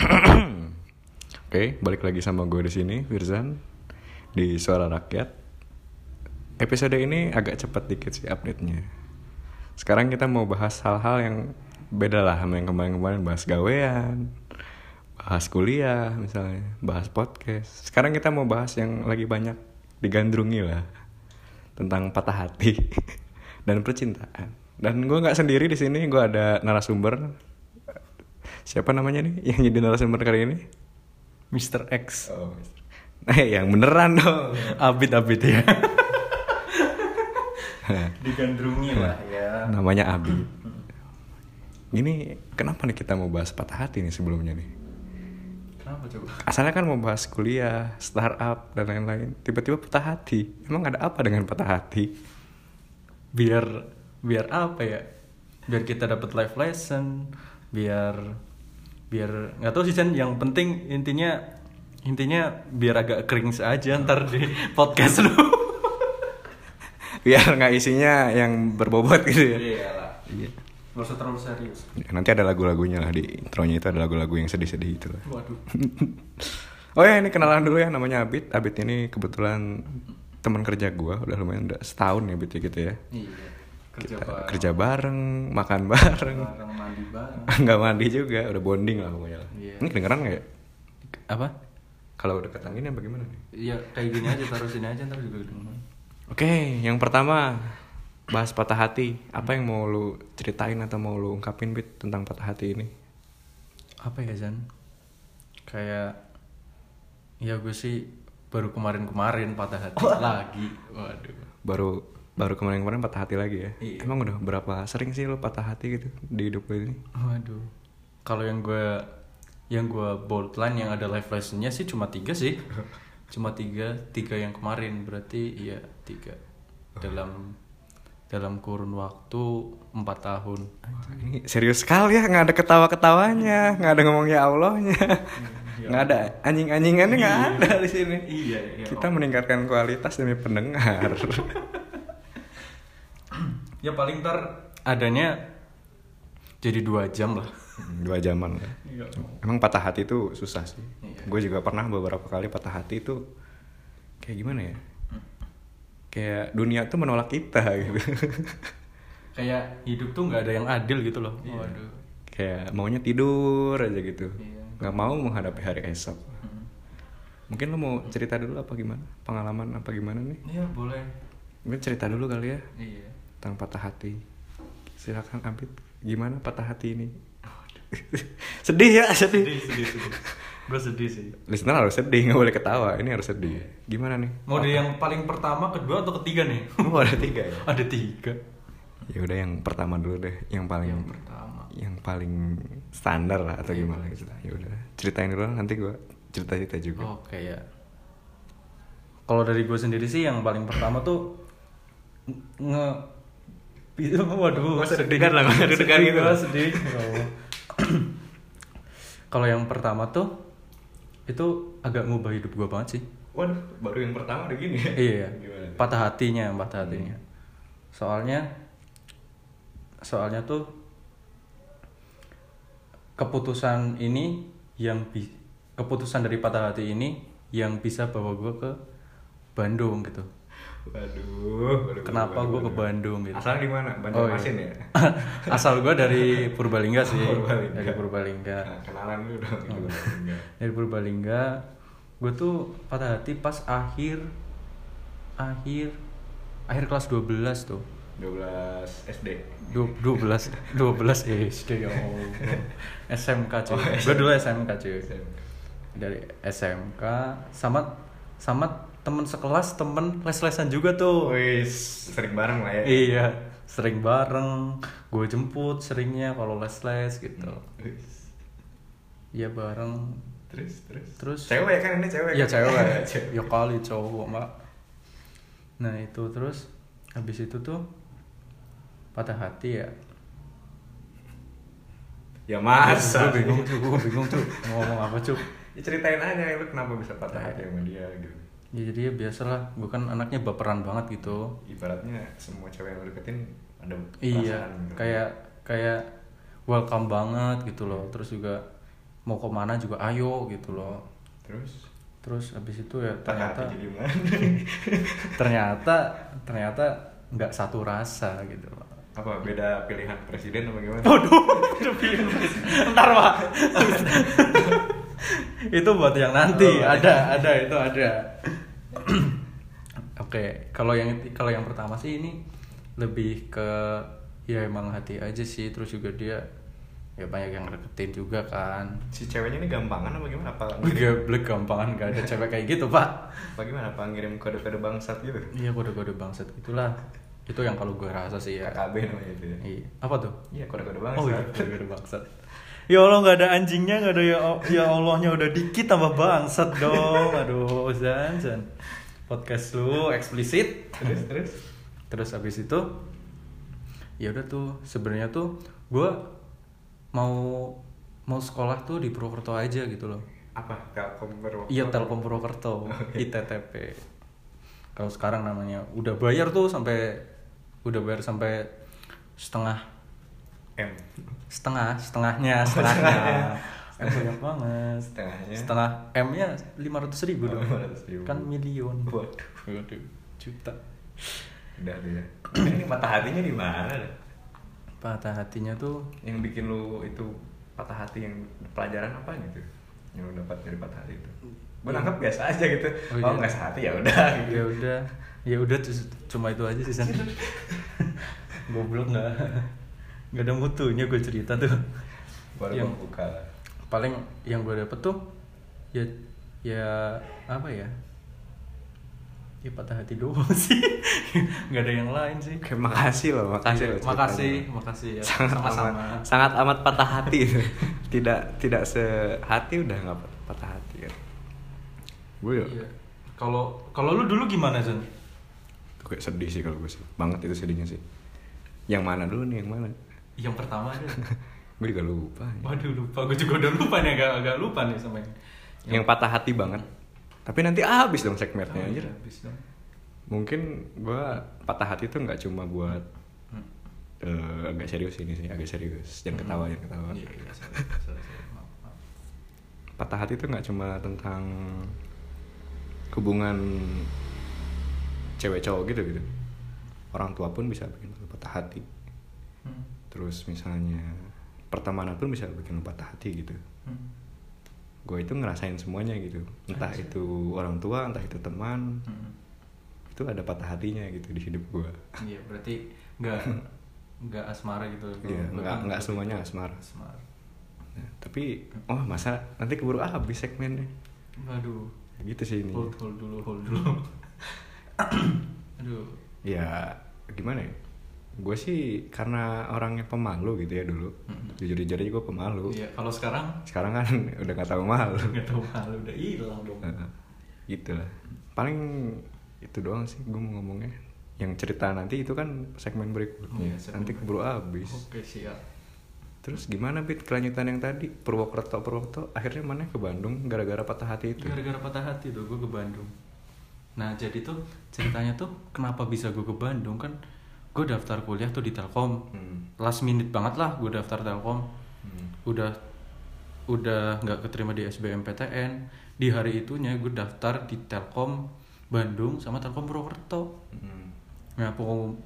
Oke, balik lagi sama gue di sini, Wirzan di Suara Rakyat. Episode ini agak cepat dikit sih update-nya. Sekarang kita mau bahas hal-hal yang beda lah sama yang kemarin-kemarin bahas gawean, bahas kuliah misalnya, bahas podcast. Sekarang kita mau bahas yang lagi banyak digandrungi lah tentang patah hati dan percintaan. Dan gue nggak sendiri di sini, gue ada narasumber. Siapa namanya nih yang jadi narasumber kali ini? Mr. X. Oh, Nah, yang beneran dong. Abid-abid ya. Digandrungi Iya. lah ya. Namanya Abi. Ini kenapa nih kita mau bahas patah hati nih sebelumnya nih? Kenapa coba? Asalnya kan mau bahas kuliah, startup dan lain-lain. Tiba-tiba patah hati. Emang ada apa dengan patah hati? Biar biar apa ya? Biar kita dapat life lesson, biar biar nggak tahu sih Chan, yang penting intinya intinya biar agak cringe aja ntar di podcast lu. Biar nggak isinya yang berbobot gitu ya. Iyalah. Iya. Gak usah terlalu serius. Ya, Nanti ada lagu-lagunya lah di intronya itu ada lagu-lagu yang sedih-sedih gitu lah. Waduh. Oh ya ini kenalan dulu ya namanya Abid. Abid ini kebetulan teman kerja gua udah lumayan udah setahun ya Abid ya gitu ya. Iya. Kerja kita bareng, kerja bareng, makan bareng, bareng, mandi bareng. nggak mandi juga, udah bonding lah pokoknya. lah. Iya. Ini kedengeran nggak ya? Apa? Kalau deketan gini apa gimana nih? Iya, kayak gini aja taruh sini aja ntar juga denger. Oke, yang pertama bahas patah hati. Apa yang mau lu ceritain atau mau lu ungkapin bit tentang patah hati ini? apa ya Zan kayak ya gue sih baru kemarin-kemarin patah hati lagi waduh Baru baru kemarin-kemarin patah hati lagi ya. Iya. Emang udah berapa sering sih lu patah hati gitu di hidup lu ini? waduh kalau yang gue yang gue boldline yang ada live lessonnya sih cuma tiga sih cuma tiga tiga yang kemarin berarti iya tiga dalam dalam kurun waktu empat tahun Ini serius sekali ya, nggak ada ketawa-ketawanya, nggak ada ngomong ya Allahnya, nggak ada anjing-anjingannya nggak ada di sini. iya Kita meningkatkan kualitas demi pendengar. ya paling ntar adanya jadi dua jam lah Dua jaman lah. Emang patah hati itu susah sih. Iya. Gue juga pernah beberapa kali patah hati itu kayak gimana ya? Hmm. Kayak dunia tuh menolak kita gitu. kayak hidup tuh nggak ada yang adil gitu loh waduh kayak maunya tidur aja gitu. Iya. Nggak mau menghadapi hari esok. Mungkin lo mau cerita dulu apa gimana? Pengalaman apa gimana nih? Iya boleh. Mungkin cerita dulu kali ya Iya. tentang patah hati. Silakan Abid, gimana patah hati ini? sedih ya, sedih. Sedih sedih sedih. Gue sedih sih. Listener harus sedih, nggak boleh ketawa. Ini harus sedih. Gimana nih? Mau dari yang paling pertama, kedua atau ketiga nih? Oh, ada tiga ya? ada tiga. Ya udah yang pertama dulu deh, yang paling yang, Yang pertama. paling standar lah atau gimana gitu. Ya udah, ceritain dulu nanti gua cerita-cerita juga. Oke ya. Kalau dari gue sendiri sih yang paling pertama tuh nge waduh Gua deg-degan lah, gua deg-degan Sedih gitu gua, lah. sedih Ya Allah. kalau yang pertama tuh itu agak ngubah hidup gue banget sih Waduh, baru yang pertama udah gini ya? iya patah hatinya patah hatinya soalnya soalnya tuh keputusan ini yang bi- keputusan dari patah hati ini yang bisa bawa gue ke Bandung gitu Waduh, kenapa gue ke Bandung gitu Iya. Asal di mana? Banjarmasin ya? asal gue dari Purbalingga sih Purbalingga. dari Purbalingga Nah, kenalan dulu dong. Oh, iya, Enggak. dari Purbalingga gue tuh patah hati pas akhir akhir akhir kelas 12 tuh 12 SD. Du- 12 12 SD ya Allah. SMK cuy Oh, gue dulu SMK cuy dari SMK sama sama temen sekelas temen les-lesan juga tuh Wis, sering bareng lah ya. iya sering bareng gue jemput seringnya kalau les-les gitu Hmm. Wis. iya bareng Terus, terus. Terus- cewek kan ini cewek. Iya kan? cewek. ya kali cowok mbak. Nah itu terus habis itu tuh patah hati ya. ya Gue masa. bingung tuh, gue bingung tuh mau ngomong apa cuy. Ya, ceritain aja lu kenapa bisa patah hati sama dia gitu. Ya jadi ya biasalah, gue kan anaknya baperan banget gitu. Ibaratnya semua cewek yang lu deketin ada Iya, perasaan gitu. kayak kayak welcome banget gitu loh. Terus juga mau kemana juga ayo gitu loh. Tapi terus terus abis itu ya ternyata ternyata jadi gimana ternyata ternyata nggak satu rasa gitu loh apa beda pilihan presiden apa gimana ntar pak itu buat yang nanti Oh. ada ada itu ada oke kalau yang kalau yang pertama sih ini lebih ke ya emang hati aja sih terus juga dia ya banyak yang deketin juga kan si ceweknya ini gampangan apa gimana apa ngirim, Geblek gampangan gak ada cewek kayak gitu pak apa gimana apa ngirim kode-kode bangsat gitu Iya kode-kode bangsat itulah Itu yang kalau gue rasa sih ya KKB namanya itu ya Iya. Apa tuh? iya kode-kode Oh bangsat iya kode-kode bangsat Ya Allah nggak ada anjingnya nggak ada ya, ya Allahnya udah dikit tambah bangsat dong Aduh Zan Zan Podcast lu eksplisit terus terus Terus abis itu ya udah tuh sebenarnya tuh gue mau mau sekolah tuh di Purwokerto aja gitu loh apa telkom berwaktu Iya Telkom Purwokerto, ITTP. Kalau sekarang namanya udah bayar tuh sampai udah bayar sampai setengah m setengah setengahnya setengahnya Em banyak banget Setengahnya. setengah m nya lima ratus ribu Oh, dong 500.000. kan miliun Waduh. waduh juta udah tuh ya ini patah hatinya di mana dah? patah hatinya tuh yang bikin lu itu patah hati yang pelajaran apa gitu yang lu dapat dari patah hati itu gue nangkep biasa aja gitu Iya. oh Oh, iya. nggak sehati ya udah gitu. ya udah ya udah cus- cuma itu aja sih San goblok nggak nggak ada mutunya gue cerita tuh baru Yang- gua buka paling yang gue dapet tuh ya ya apa ya ya patah hati doang sih nggak ada yang lain sih Oke, makasih loh, makasih Iya, loh. ceritanya. makasih makasih ya Sangat sama-sama amat, sangat amat patah hati. tidak tidak sehati udah nggak pat- patah hati ya. Gue ya, Iya. kalau kalau lu dulu gimana Zon? tuh kayak sedih sih kalau gue sih. Banget itu sedihnya sih. Yang mana dulu nih, yang mana? yang pertama aja Gue juga lupa. ya. waduh lupa gue juga udah lupa nih agak agak lupa nih sama yang Yang patah hati banget. Tapi nanti habis dong segmennya aja anjir. iya, habis dong Mungkin gue patah hati tuh nggak cuma buat Hmm. eh, agak serius ini sih, agak serius. Jangan ketawa, jangan ketawa. Iya, iya, sorry, sorry, sorry. Maaf, maaf. patah hati itu nggak cuma tentang hubungan cewek cowok gitu gitu orang tua pun bisa bikin lu patah hati Hmm, terus misalnya pertemanan pun bisa bikin lu patah hati gitu hmm, gue itu ngerasain semuanya gitu entah Anjay. itu orang tua entah itu teman hmm. itu ada patah hatinya gitu di hidup gue Iya, berarti nggak nggak asmara gitu. Iya, nggak nggak semuanya asmara asmara. Nah, tapi oh masa nanti keburu habis segmennya Aduh, gitu sih ini hold hold dulu, hold dulu. Aduh, ya gimana ya gue sih karena orangnya pemalu gitu ya dulu Mm-mm. jujur-jujur aja gue pemalu iya kalau sekarang sekarang kan udah gak tau malu nggak tahu malu udah hilang dong. Heeh. gitu lah paling itu doang sih gue mau ngomongnya yang cerita nanti itu kan segmen Oh berikutnya iya, segmen Oh. nanti keburu habis Oke siap. terus gimana bit kelanjutan yang tadi Purwokerto Purwokerto akhirnya mana ke Bandung gara-gara patah hati itu Gara-gara patah hati tuh gue ke Bandung. Nah jadi tuh ceritanya tuh kenapa bisa gue ke Bandung kan? Gue daftar kuliah tuh di Telkom. Hmm. Last minute banget lah gue daftar Telkom. Hmm. Udah udah nggak keterima di SBMPTN. Di hari itunya gue daftar di Telkom Bandung sama Telkom Purwokerto. Hmm. Nah pengum-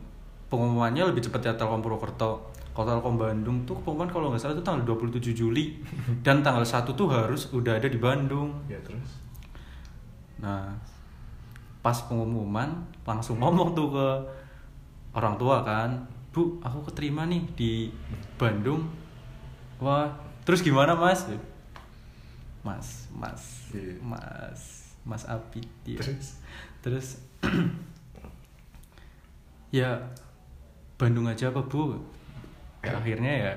pengumumannya lebih cepat ya Telkom Purwokerto. Kalau Telkom Bandung tuh pengumuman kalau nggak salah itu tanggal 27 Juli dan tanggal 1 tuh harus udah ada di Bandung. ya terus Nah, pas pengumuman langsung ngomong tuh ke orang tua kan, Bu, aku keterima nih di Bandung. Wah, terus gimana Mas? Mas, Mas, Iya. Mas, Mas Api dia. Terus, ya Bandung aja apa Bu? Ya, akhirnya ya,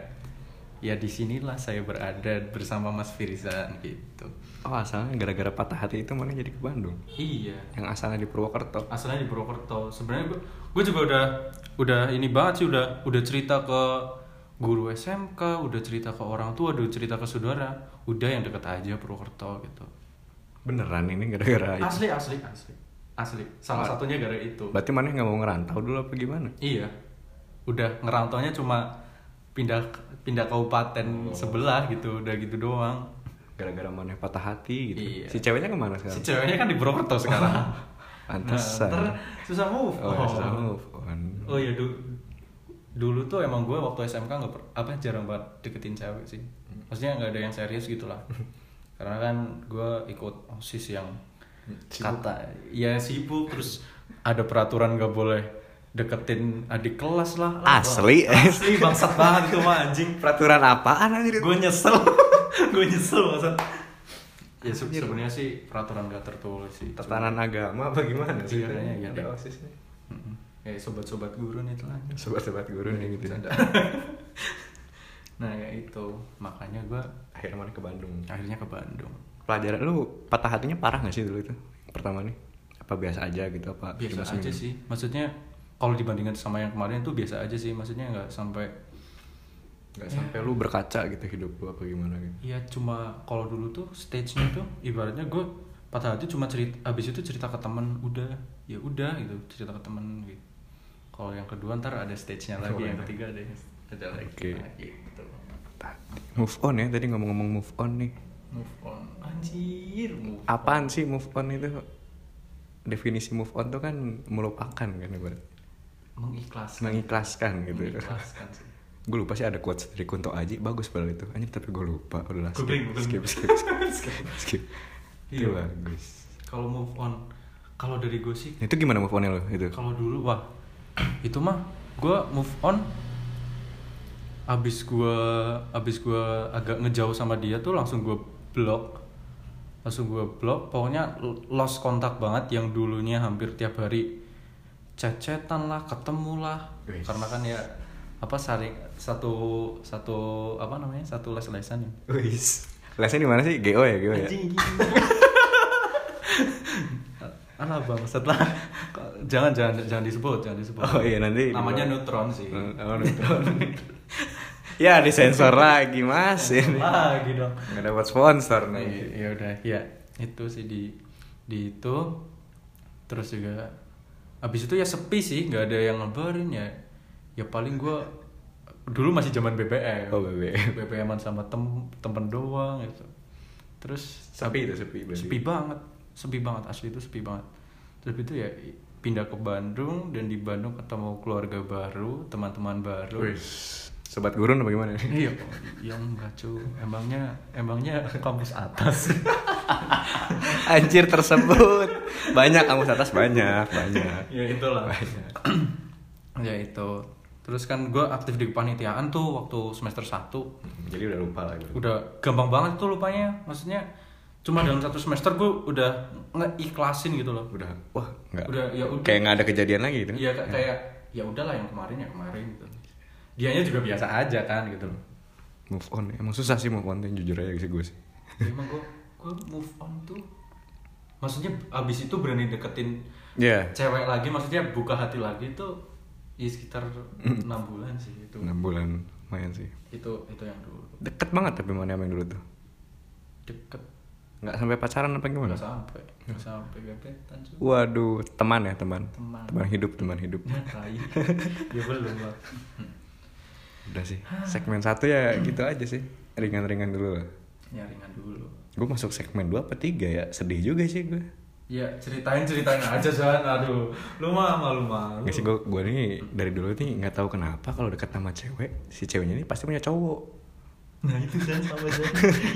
ya disinilah saya berada bersama Mas Firizan gitu. oh asalnya gara-gara patah hati itu mana jadi ke Bandung Iya, yang asalnya di Purwokerto asalnya di Purwokerto sebenarnya gue gue juga udah udah ini banget sih udah udah cerita ke guru SMK udah cerita ke orang tua udah cerita ke saudara udah yang deket aja Purwokerto gitu beneran ini gara-gara Nah, itu asli asli asli asli salah satunya gara itu berarti mana nggak mau ngerantau dulu apa gimana iya udah Oh. ngerantaunya cuma pindah pindah kabupaten sebelah gitu udah gitu doang gara-gara maneh patah hati gitu Iya. si ceweknya kemana Si sekarang ceweknya kan di Brokerto sekarang. Pantesan. Nah, ntar susah move. oh, susah move on. Oh iya du- dulu tuh emang gue waktu SMK nggak per- apa jarang banget deketin cewek sih. Hmm. Maksudnya nggak ada yang serius gitu lah. Karena kan gue ikut osis yang Hmm, kata ya sibuk terus ada peraturan nggak boleh deketin adik kelas lah. Lah, Asli. gua- Asli bangsat banget itu mah anjing. peraturan apaan anjir Gue nyesel. gue nyesel maksud. Ya se- sebenarnya sih peraturan gak tertulis sih. Cuma- tatanan agama apa gimana sih Iya, kayaknya iya ada deh. osisnya Mm-mm. Ya sobat-sobat guru nih telah. sobat-sobat guru nih gitu Bercanda. nah ya itu makanya gue akhirnya mana ke Bandung akhirnya ke Bandung. pelajaran lu patah hatinya parah gak sih dulu itu pertama nih apa biasa aja gitu apa cuma Biasa aja seminggu? sih. Maksudnya kalau dibandingkan sama yang kemarin tuh biasa aja sih. Maksudnya nggak sampai nggak sampai lu berkaca gitu hidup lu apa gimana gitu Iya cuma kalau dulu tuh stage-nya tuh ibaratnya gue patah hati cuma cerita abis itu cerita ke temen udah ya udah gitu cerita ke temen gitu. Kalau yang kedua ntar ada stage-nya lagi, yang ketiga ada ada lagi. Oke. Nah, gitu. Tadi- move on ya tadi ngomong-ngomong move on nih Move on. Anjir, move. apaan sih move on itu definisi move on tuh kan melupakan kan ibarat Mengikhlaskan. mengikhlaskan gitu Mengikhlaskan sih. gue lupa sih ada quotes dari Kunto Aji bagus padahal itu anjir tapi gue lupa udah lah skip Googling, googling. skip skip skip, skip, skip. itu Iya. bagus Kalau move on, kalau dari gue sih, Nah, itu gimana move onnya lo itu kalau dulu wah itu mah gue move on abis gue abis gue agak ngejauh sama dia tuh langsung gue blok langsung gue blok pokoknya l- lost kontak banget yang dulunya hampir tiap hari cecetan lah ketemu lah Wis. karena kan ya apa saring satu satu apa namanya satu les lesan ya wis lesnya di mana sih GO ya GO ya Anjing. Alah bang, setelah jangan jangan jangan disebut, jangan disebut. Oh, iya, nanti- Namanya neutron sih. Oh, neutron. ya disensor lagi mas ini Lagi dong. nggak dapat sponsor Nah, nih ya ya udah, ya itu sih di di itu terus juga abis itu ya sepi sih, nggak ada yang ngabarin ya. Ya paling gua dulu masih zaman BBM. Oh, BBM. BBM-an sama tem temen doang gitu. Terus sepi itu sepi berarti. sepi banget sepi banget asli itu sepi banget terus itu ya pindah ke Bandung dan di Bandung ketemu keluarga baru teman-teman baru Wis. sobat gurun apa gimana iya yang enggak cu emangnya emangnya kampus atas anjir tersebut banyak kamus atas banyak banyak ya itulah ya itu terus kan gue aktif di kepanitiaan tuh waktu semester 1 jadi udah lupa lah gitu. udah gampang banget tuh lupanya maksudnya cuma dalam satu semester gue udah ngeikhlasin gitu loh udah wah nggak Udah, ya udah. kayak nggak ada kejadian lagi gitu Iya kayak kayak, ya udahlah yang kemarin ya kemarin gitu. Dianya juga biasa aja kan gitu loh. move on ya. emang susah sih move on tuh, jujur aja sih gue sih Ya, Emang gue gue move on tuh. Maksudnya abis itu berani deketin ya cewek lagi, maksudnya buka hati lagi tuh ya sekitar enam bulan sih itu. enam bulan lumayan sih Itu itu yang dulu deket banget tapi mana yang dulu tuh deket nggak sampai pacaran apa gimana nggak sampai Hmm. nggak sampai gebetan cuy. waduh teman ya teman Teman. hidup teman hidup Ya, tai. ya belum lah. udah sih segmen satu ya gitu aja sih ringan-ringan dulu lah Nyaringan dulu. gue masuk segmen dua apa tiga ya sedih juga sih gue Ya ceritain ceritain aja Zan. Aduh, lu mah malu-malu. Nggak sih gue gue nih dari dulu nih nggak tahu kenapa kalau deket sama cewek si ceweknya ini pasti punya cowok Nah itu Zan sama Zan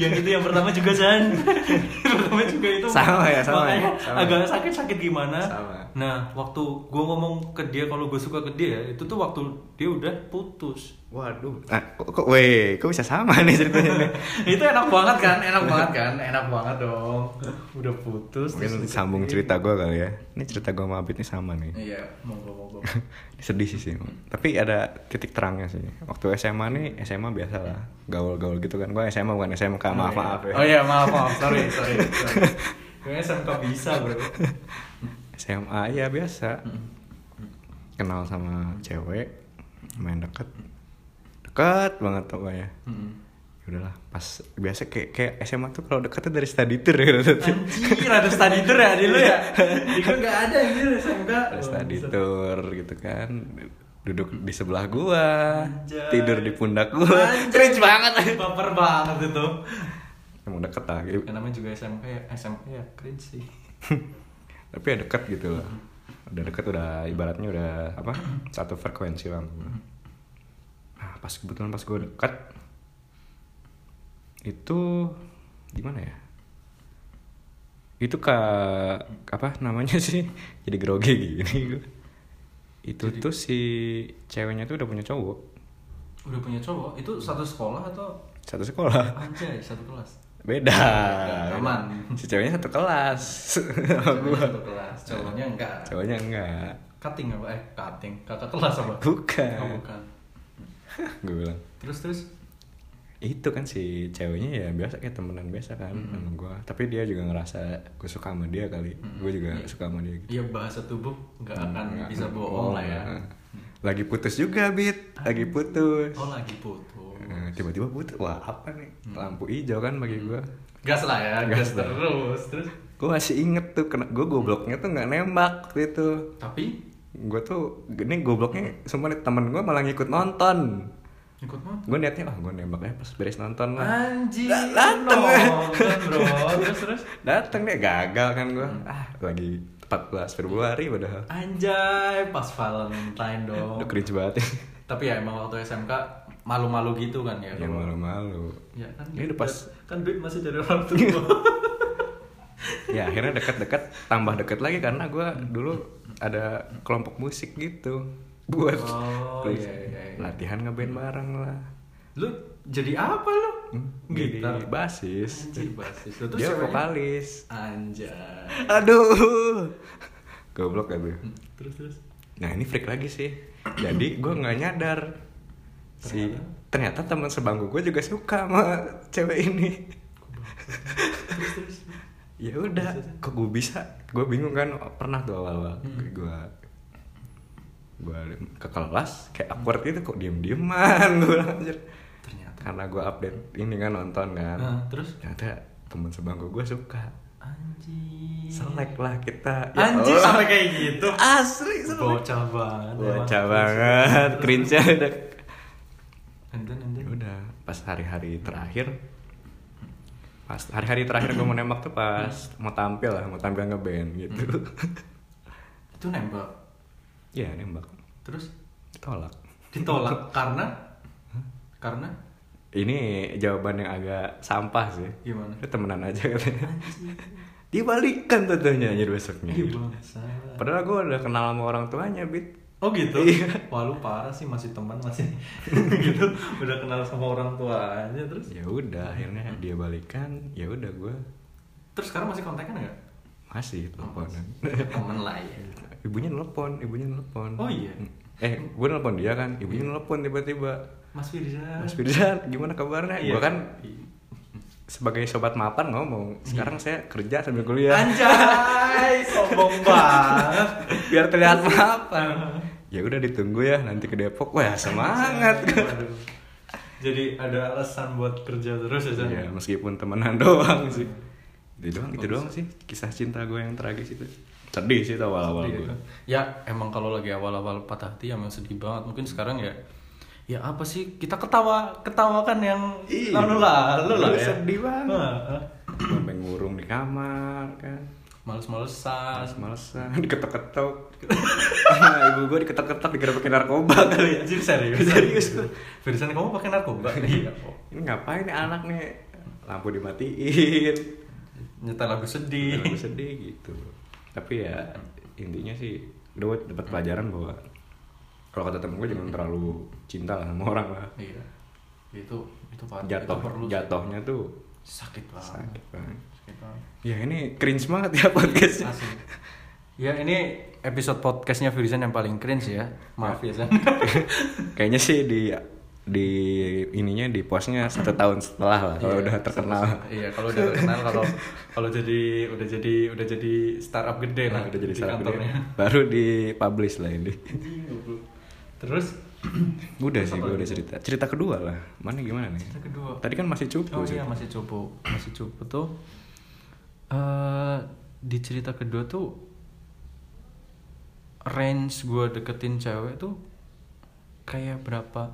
Yang itu yang pertama juga Zan Yang pertama juga itu Sama ya, sama Makanya ya, sama. agak sakit-sakit gimana Sama. Nah waktu gue ngomong ke dia kalau gue suka ke dia Itu tuh waktu dia udah putus waduh nah, kok, kok weh kok bisa sama nih ceritanya nih Itu enak banget kan, enak banget kan, enak banget dong Udah putus mungkin terus deketin. sambung cerita gue kali ya ini cerita gue sama Abid nih sama nih Iya, monggo-monggo Ini sedih sih sih tapi ada titik terangnya sih waktu SMA nih SMA biasa lah gaul-gaul gitu kan gue SMA bukan SMK maaf maaf ya Oh iya maaf maaf, sorry sorry, sorry. Gue SMK bisa bro SMA ya biasa kenal sama cewek main deket deket banget pokoknya Mm-mm. ya udahlah pas biasa kayak kayak SMA tuh kalau deketnya dari study tour gitu Anjir, ada study tour ya di lu ya? Di gue gak ada anjir SMK Terus study tour gitu kan duduk di sebelah gua Anjay. tidur di pundak gua cringe banget Baper banget itu emang deket lah Ya, namanya juga SMK ya, SMK ya cringe sih. tapi ya deket gitu lah udah deket udah ibaratnya udah apa satu frekuensi lah sama gua. nah pas kebetulan pas gue deket itu gimana ya itu ke apa namanya sih jadi grogi gini gua. itu Jadi- tuh si ceweknya tuh udah punya cowok Udah punya cowok, itu satu sekolah atau satu sekolah anjay satu kelas? beda Aman. si ceweknya satu kelas sama Ceweknya gua. satu kelas, cowoknya enggak. cowoknya enggak Cutting apa? Eh, cutting. Kakak kelas apa? Bukan. Oh, bukan. gue bilang Terus terus itu kan si ceweknya ya biasa kayak temenan biasa kan sama gue tapi dia juga ngerasa gue suka sama dia kali gue juga Iya. suka sama dia gitu ya bahasa tubuh nggak akan Hmm, Nggak- bisa bohong lah ya. nggak. lagi putus juga bit lagi putus Oh lagi putus. Nah, tiba-tiba putus wah apa nih Mm. lampu hijau kan bagi gue Gas lah ya, Gas gas, lah. terus terus. gue masih inget tuh kena gue gobloknya tuh nggak nembak waktu itu Tapi gue tuh ini gobloknya semua nih, temen gue malah ngikut nonton ikut mah gue niatnya wah gue nembaknya pas beres nonton lah Anjing, Da- dateng. nonton, bro. Terus, terus. dateng deh gagal kan gue Hmm. ah lagi 14 Februari padahal Anjay, pas Valentine dong. udah cringe banget ya Tapi ya emang waktu SMK malu-malu gitu kan ya. ya kalau- malu-malu Ya kan. Ini udah pas. Kan duit masih dari orang tua. ya akhirnya deket-deket tambah deket lagi karena gue dulu ada kelompok musik gitu buat Oh, terus iya, iya, iya. latihan ngeband bareng lah lu jadi apa lu? Hmm? jadi Gitar. basis Anjir, basis. Lu tuh dia ceweknya- vokalis Anjay. Hmm, aduh goblok kan tuh Terus terus. Nah ini freak lagi sih. Jadi gue nggak nyadar si ternyata teman sebangku gue juga suka sama cewek ini. Terus terus. ya udah, kok gue bisa? Gue bingung kan pernah tuh awal-awal Hmm. gue gue ke kelas kayak awkward gitu kok diem-dieman gue anjir Ternyata. karena gue update ini kan nonton kan Nah, terus ternyata teman sebangku gue suka anjing. selek lah kita Ya Allah. Anjing Iya. sampai kayak gitu. asli selek Bocah banget. emang. Bocah banget, cringe ada. And then, and then. Udah, pas hari-hari terakhir pas hari-hari terakhir gue mau nembak tuh pas mau tampil lah, mau tampil ngeband gitu. Itu nembak. Iya, nembak. Terus Tolak. ditolak karena karena Ini jawaban yang agak sampah sih. gimana? Udah temenan aja katanya. Dibalikan tentunya anjir besoknya. Gimana? Salah. Padahal gue udah kenal sama orang tuanya, Bit. Oh gitu? Iya. Wah lu parah sih masih teman masih gitu udah kenal sama orang tuanya terus Ya udah, akhirnya dia balikan. Ya udah gue terus sekarang masih kontekan nggak? masih teleponan. Temen lah ya. ibunya nelpon ibunya nelpon Oh iya? eh gue nelpon dia kan ibunya nelpon tiba-tiba Mas Firza. Mas Firza gimana kabarnya Iya. gue kan sebagai sobat mapan ngomong sekarang saya kerja sambil kuliah Anjay, sombong banget. biar terlihat mapan ya udah ditunggu ya nanti ke Depok wah semangat Waduh. Jadi ada alasan buat kerja terus ya, San? ya meskipun temenan doang sih itu doang itu doang sih kisah cinta gue yang tragis itu sedih sih tau awal-awal Sedih gue gitu. Ya emang kalau lagi awal-awal patah hati ya emang sedih banget. Mungkin sekarang ya ya apa sih kita ketawa ketawakan yang Iya. lalu-lalu lah Dulu ya. sedih banget. Heeh. sampai ngurung di kamar kan Males-malesan. Males malesan diketok-ketok Nah, ibu gue diketok-ketok dikira pakai narkoba kali ya Anjir serius. Serius. Firsan kamu pakai narkoba? Iya. kok. ini ngapain nih anak nih lampu dimatiin Nyetel lagu sedih. Gue sedih gitu tapi ya intinya sih gue dapat pelajaran bahwa kalau kata temen gue jangan terlalu cinta lah sama orang lah Iya. Itu Iya, itu parah. jatuh Itu perlu sih. jatuhnya tuh sakit banget. sakit banget Sakit banget. ya ini cringe banget ya podcastnya Asli. Ya ini episode podcastnya Firsan yang paling cringe ya. Maaf ya San. kayaknya sih di di ininya di postnya satu tahun setelah lah kalau Iya, udah terkenal Iya, kalau udah terkenal kalau kalau jadi udah jadi udah jadi startup gede lah Nah, udah jadi di startup gede. kantornya. Baru dipublish lah ini. Anjing, goblok. Terus Udah sih gue udah cerita. Cerita kedua lah. Mana gimana nih? cerita kedua. Tadi kan masih cupu Oh sih. iya masih cupu masih cupu tuh eh di cerita kedua tuh range gue deketin cewek tuh kayak berapa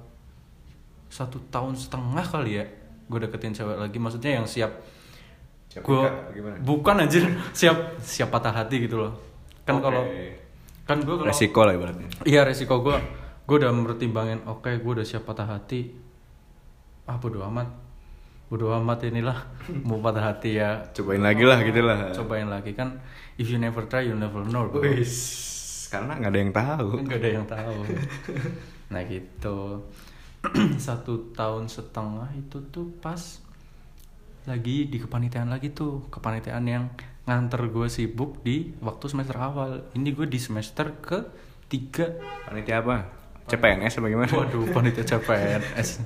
satu tahun setengah kali ya gue deketin cewek lagi maksudnya yang siap Siap Gua- nikah, gimana? bukan anjir siap siap patah hati gitu loh kan Oke. kalau kan gue kalau resiko lah ibaratnya iya resiko gue gue udah mempertimbangin oke gue udah siap patah hati ah bodo amat bodo amat inilah mau patah hati ya cobain lagi lah gitu lah cobain lagi kan if you never try you never know bro. Kan Wis, karena nggak ada yang tahu nggak ada yang tahu nah gitu satu tahun setengah itu tuh pas lagi di kepanitiaan lagi tuh kepanitiaan yang nganter gue sibuk di waktu semester awal ini gue di semester ke tiga panitia apa CPNS apa gimana waduh panitia CPNS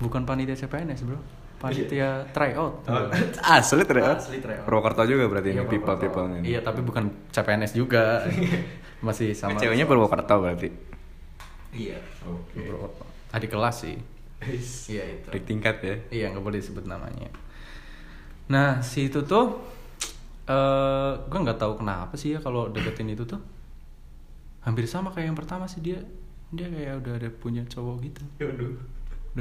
bukan panitia CPNS bro panitia tryout Oh, asli ternyata Ah, Asli ternyata. Purwokerto juga berarti ini Iya, people people ini iya tapi bukan CPNS juga Eh, masih sama ceweknya Purwokerto berarti iya Oke. bro adik kelas sih iya itu di tingkat ya Iya nggak boleh disebut namanya. Nah si itu tuh, eh gue nggak tahu kenapa sih ya kalau deketin itu tuh, hampir sama kayak yang pertama sih dia dia kayak udah ada punya cowok gitu, Yaudah.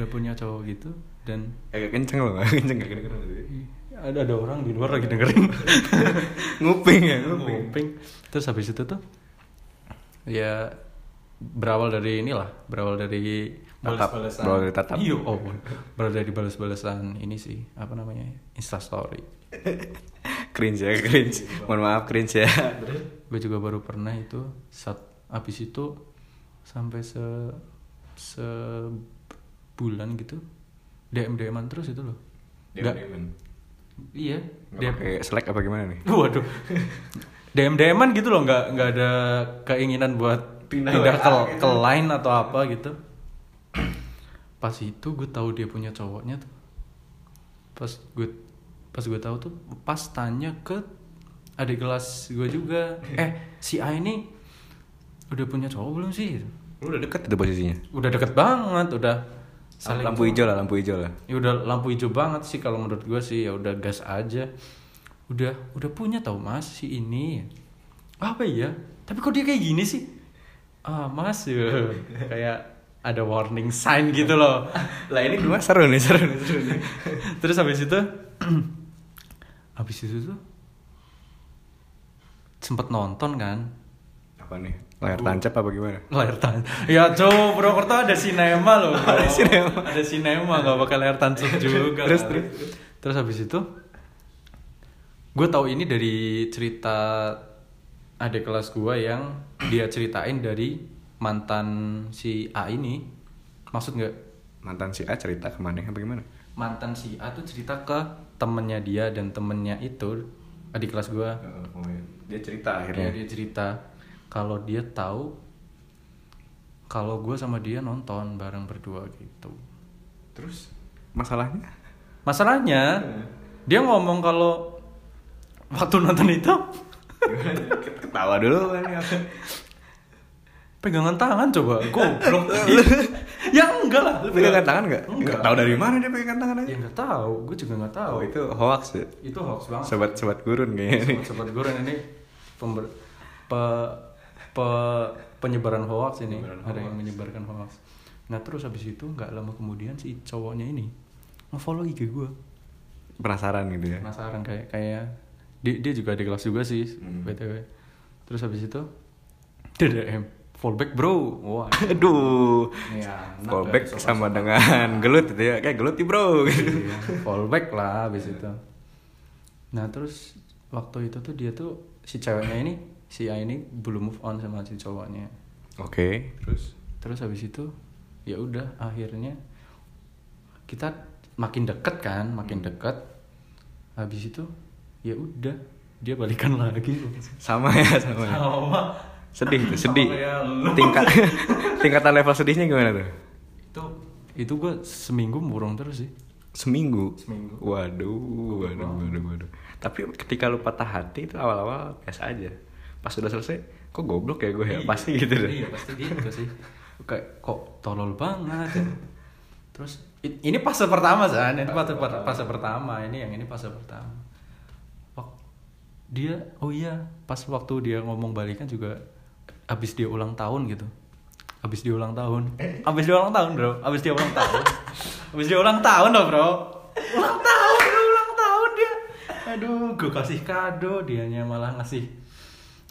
udah punya cowok gitu dan agak kenceng loh agak kenceng agak kenceng ada ada orang di luar lagi dengerin nguping ya nguping nguping terus habis itu tuh ya berawal dari inilah berawal dari Tatap, berawal dari tatap. Iya, oh, berawal dari balas-balasan ini sih apa namanya instastory cringe ya cringe mohon maaf cringe ya gue juga baru pernah itu saat habis itu sampai se sebulan gitu dm dman terus itu loh Nggak- iya dia DM. pakai selek apa gimana nih waduh dm dman gitu loh nggak nggak ada keinginan buat pindah, Pindah ke, WA gitu. ke lain atau apa gitu pas itu gue tahu dia punya cowoknya tuh pas gue pas gue tahu tuh pas tanya ke adik kelas gue juga eh si A ini udah punya cowok belum sih lu udah deket itu posisinya udah deket banget udah saling lampu hijau lah lampu hijau lah ya udah lampu hijau banget sih kalau menurut gue sih ya udah gas aja udah udah punya tau mas si ini apa iya tapi kok dia kayak gini sih ah mas ya kayak ada warning sign gitu loh lah ini dua seru nih seru nih seru nih terus habis itu habis itu tuh sempet nonton kan apa nih layar tancap apa gimana layar tancap ya cow Purwokerto ada sinema loh bro. ada sinema ada sinema nggak bakal layar tancap juga Terus, kali. terus. terus habis itu gue tahu ini dari cerita ada kelas gue yang dia ceritain dari mantan si A ini maksud nggak mantan si A cerita kemana apa gimana mantan si A tuh cerita ke temennya dia dan temennya itu adik kelas gue Dia cerita Iya, akhirnya dia cerita kalau dia tahu kalau gue sama dia nonton bareng berdua gitu. Terus masalahnya Masalahnya Iya. dia ngomong kalau waktu nonton itu ketawa dulu kan ya. pegangan tangan coba goblok. ya enggak lah. Lu pegangan tangan nggak Enggak. nggak tahu dari mana dia pegangan tangan aja Ya enggak tahu, gue juga enggak tahu. oh itu hoax ya itu hoax banget. sobat sobat gurun kayaknya nih Sobat goreng ini pember, pe- pe- penyebaran hoax ini Penyebaran ada hoax. yang menyebarkan hoax. Nah terus habis itu nggak lama kemudian si cowoknya ini ngefollow IG gue. penasaran gitu ya Penasaran kayak kayak dia, dia juga ada kelas juga sih Hmm. btw. Terus habis itu dia DM fallback bro. Wah. aduh Ya, anak callback ya, sama dengan gelut gitu ya kayak gelut nih bro gitu. Iya, fallback lah abis Iya. itu nah terus waktu itu tuh dia tuh si ceweknya ini si A ini belum move on sama si cowoknya oke terus terus habis itu ya udah akhirnya kita makin deket kan makin deket habis itu ya udah dia balikan lagi sama ya sama ya. sama sedih tuh sedih Sama kayak ya, lu. tingkat tingkatan level sedihnya gimana tuh itu itu gue seminggu murung terus sih seminggu Seminggu. waduh waduh waduh waduh tapi ketika lu patah hati itu awal-awal biasa aja pas sudah selesai kok goblok ya gue ya pasti gitu deh Iya pasti gitu sih. Kayak kok tolol banget. ya. Terus i- ini fase pertama San, ini fase, per- fase pertama, ini yang ini fase pertama. Wak- dia oh iya, pas waktu dia ngomong balikan juga habis dia ulang tahun gitu. Habis dia ulang tahun. Habis dia ulang tahun, Bro. Habis dia ulang tahun. Habis dia ulang tahun loh, Bro. Ulang tahun, bro, ulang tahun. aduh gue kasih kado dianya malah ngasih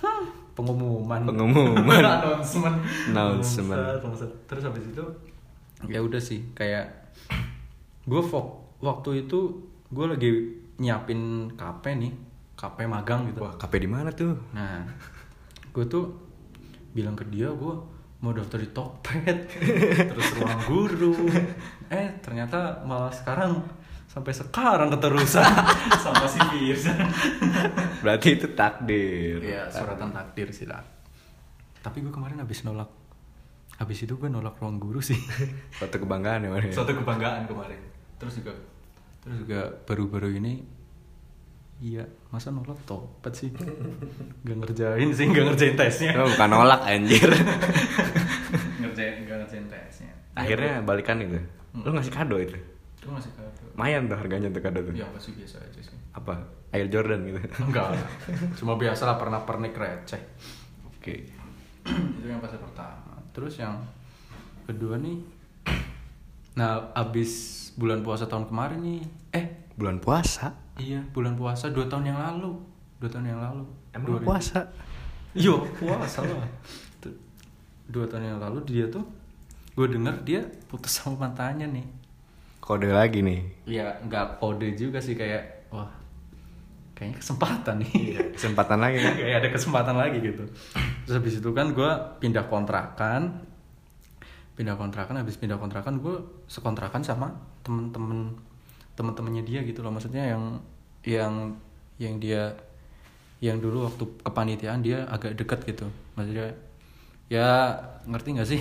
"Hah, pengumuman Pengumuman. announcement Announcement. Pengumuman, pengumuman. terus habis itu ya udah sih kayak gue fok waktu itu gue lagi nyiapin kape nih kape magang gitu Wah, KP di mana tuh? Nah, gue tuh bilang ke dia gue mau daftar di Tokped, terus ruang guru. Eh ternyata malah sekarang sampai sekarang keterusan sama si Firza. Berarti itu takdir. Iya suratan takdir sih lah. Tapi gue kemarin habis nolak. Habis itu gue nolak ruang guru sih. Suatu kebanggaan ya, Mar, ya? Suatu kebanggaan kemarin. Terus juga terus juga baru-baru ini Iya, masa nolak topet sih? Gak ngerjain sih, gak ngerjain tesnya. Oh, bukan nolak anjir. ngerjain nggak ngerjain tesnya Akhirnya balikan itu. Lu Hmm. ngasih kado itu. itu masih kado Lumayan tuh harganya tuh kado tuh. ya pasti biasa aja sih Apa? Air Jordan gitu. enggak cuma biasa lah pernah pernik receh Oke. itu yang fase pertama terus yang kedua nih nah abis bulan puasa tahun kemarin nih eh Bulan puasa. iya bulan puasa dua tahun yang lalu dua tahun yang lalu Emang 2000. puasa. Yo, puasa lah. Tu- Dua tahun yang lalu dia tuh, gue denger dia putus sama mantannya nih. Kode lagi nih. Ya nggak kode juga sih kayak wah kayaknya kesempatan nih. Iya, Kesempatan lagi kan. kayak ada kesempatan lagi gitu. Terus habis itu kan gue pindah kontrakan, pindah kontrakan habis pindah kontrakan gue sekontrakan sama temen-temen temen-temennya dia gitu loh maksudnya yang yang yang dia yang dulu waktu kepanitiaan dia agak deket gitu maksudnya ya ngerti nggak sih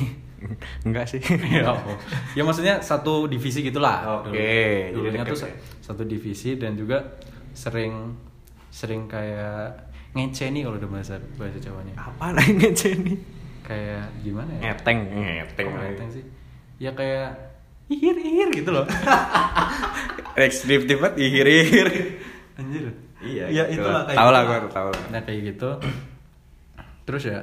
Enggak sih. ya, oh. ya maksudnya satu divisi gitulah. Iya. Oke, Dulu- jadi Dulunya deket tuh sa- ya. satu divisi dan juga sering sering kayak ngeceni kalau udah bahasa bahasa Jawanya. Apa lagi ngecen nih? Kayak gimana ya? Ngeteng, Kok ngeteng. ngeteng sih. Ya kayak ihir ihir gitu loh. Deskriptif banget ihir-ihir. Anjir. Iya, Ya gitu itulah lah. kayak Tahu lah gitulah. gua, tahu lah. Nah kayak gitu. Terus ya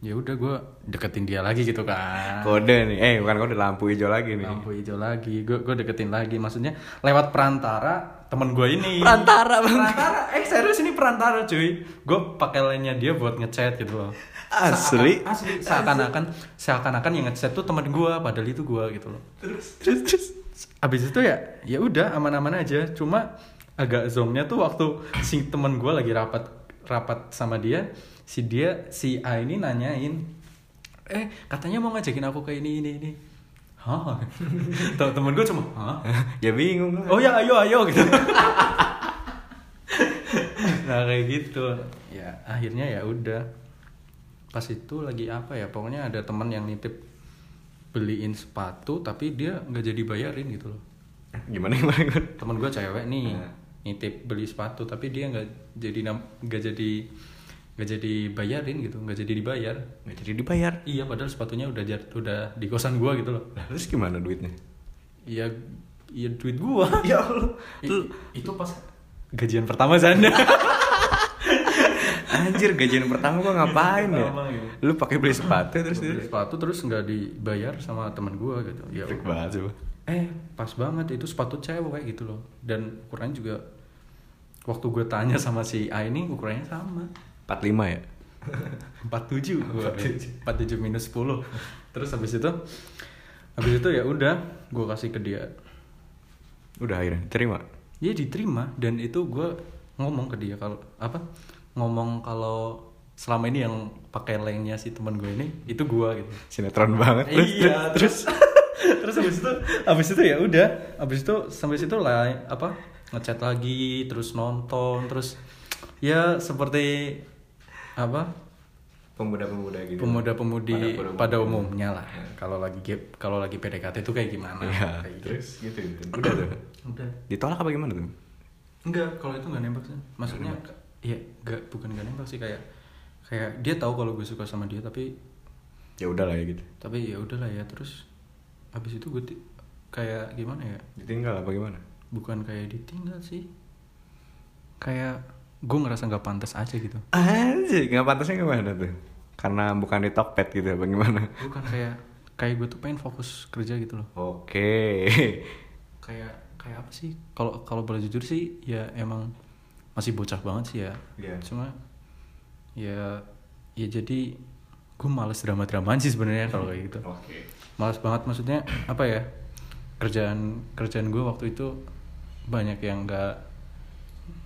ya udah gue deketin dia lagi gitu kan. Kode nih. Eh, bukan kode lampu hijau lagi nih. lampu hijau lagi gue gue deketin lagi maksudnya lewat perantara temen gue ini Perantara, Bang. perantara eh serius ini perantara cuy gue pakai lainnya dia buat ngechat gitu loh Asli. Seakan- asli seakan-akan seakan-akan yang ngechat tuh temen gue padahal itu gue gitu loh Terus terus. abis itu ya ya udah aman-aman aja cuma agak zongnya tuh waktu si temen gue lagi rapat rapat sama dia si dia si A ini nanyain eh katanya mau ngajakin aku ke ini ini ini hah Tem- temen gue cuma hah Ya bingung lah. oh ya ayo ayo gitu nah kayak gitu ya akhirnya ya udah pas itu lagi apa ya pokoknya ada teman yang nitip beliin sepatu tapi dia nggak jadi bayarin gitu loh Gimana gimana gua? temen gue cewek nih Nah. nitip beli sepatu tapi dia nggak jadi nam- nggak jadi nggak jadi bayarin gitu nggak jadi dibayar Nggak jadi dibayar. iya padahal sepatunya udah jar- udah di kosan gue gitu loh Lah, Terus gimana duitnya? iya iya duit gue Ya Allah. itu pas gajian pertama Zanda Anjir gajian pertama gua ngapain ya? Pertama, ya. Lu pakai beli sepatu terus beli terus. sepatu terus nggak dibayar sama temen gue gitu ya Freak banget coba. eh pas banget itu sepatu cewek gitu loh dan ukurannya juga waktu gue tanya sama si A ini ukurannya sama 45 ya? 47 gua. 47 minus 10 terus habis itu habis itu ya udah gue kasih ke dia Udah akhirnya terima. dia diterima dan itu gue ngomong ke dia kalau apa ngomong kalau selama ini yang pakai lengnya si teman gue ini itu gue gitu Sinetron banget terus. iya terus terus habis itu habis itu ya udah habis itu sampai situ lah apa ngechat lagi terus nonton terus ya seperti apa Pemuda-pemuda gitu. pemuda-pemudi Pada- Iya. pada umumnya lah kalau lagi gap- kalau lagi PDKT itu kayak gimana Iya, Kayak gitu. terus gitu. gitu. Udah tuh. udah Ditolak apa gimana tuh? Enggak, kalau itu nggak nembak sih. Maksudnya iya, enggak bukan nggak nembak sih kayak kayak dia tahu kalau gue suka sama dia tapi Ya udahlah ya gitu. tapi ya udahlah ya terus habis itu gue ti- kayak gimana ya? Ditinggal apa gimana? Bukan kayak ditinggal sih. Kayak gue ngerasa nggak pantas aja gitu. Anjir, nggak pantasnya gimana tuh? Karena bukan di Tokped gitu apa gimana? Bukan kayak kayak gue tuh pengen fokus kerja gitu loh. Oke. Kayak kayak apa sih kalau kalau boleh jujur sih ya emang masih bocah banget sih ya Iya. cuma ya ya jadi gue males drama dramaan sih sebenarnya kalau kayak gitu Oke. males banget maksudnya apa ya kerjaan kerjaan gue waktu itu banyak yang enggak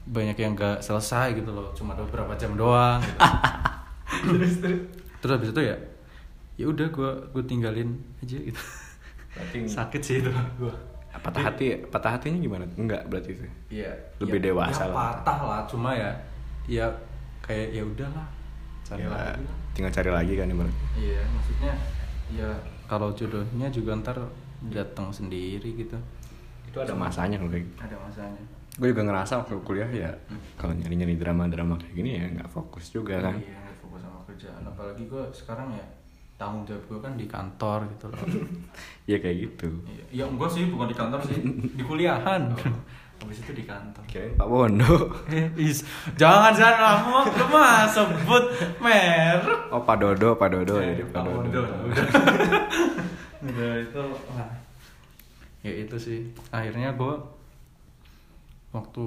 banyak yang enggak selesai gitu loh cuma ada beberapa jam doang gitu. terus terus. terus habis itu ya ya udah gue gue tinggalin aja gitu Berarti sakit sih itu gue patah hati patah hatinya gimana enggak berarti itu Iya. Lebih ya- dewasa ya lah. patah lah, cuma ya ya kayak ya udahlah. Ya, Cari lagi lah. tinggal cari lagi kan ibaratnya Iya, maksudnya ya kalau jodohnya juga ntar datang sendiri gitu. itu itu ada masanya loh kayak Ada masanya. gue juga ngerasa waktu kuliah ya kalau nyari nyari drama drama kayak gini ya nggak fokus juga kan Iya, nggak fokus sama kerjaan. Apalagi gue sekarang ya tanggung jawab gue kan di kantor gitu loh. ya kayak gitu Iya, ya enggak sih, bukan di kantor sih, di kuliahan. Habis itu di kantor. kirain Pak Bondo Eh, is, jangan jangan kamu lu mah sebut merek. oh Pak Dodo Pak Dodo Ya, jadi Pak Pak Dodo Bondo, udah. Udah, itu lah. ya itu sih akhirnya gue waktu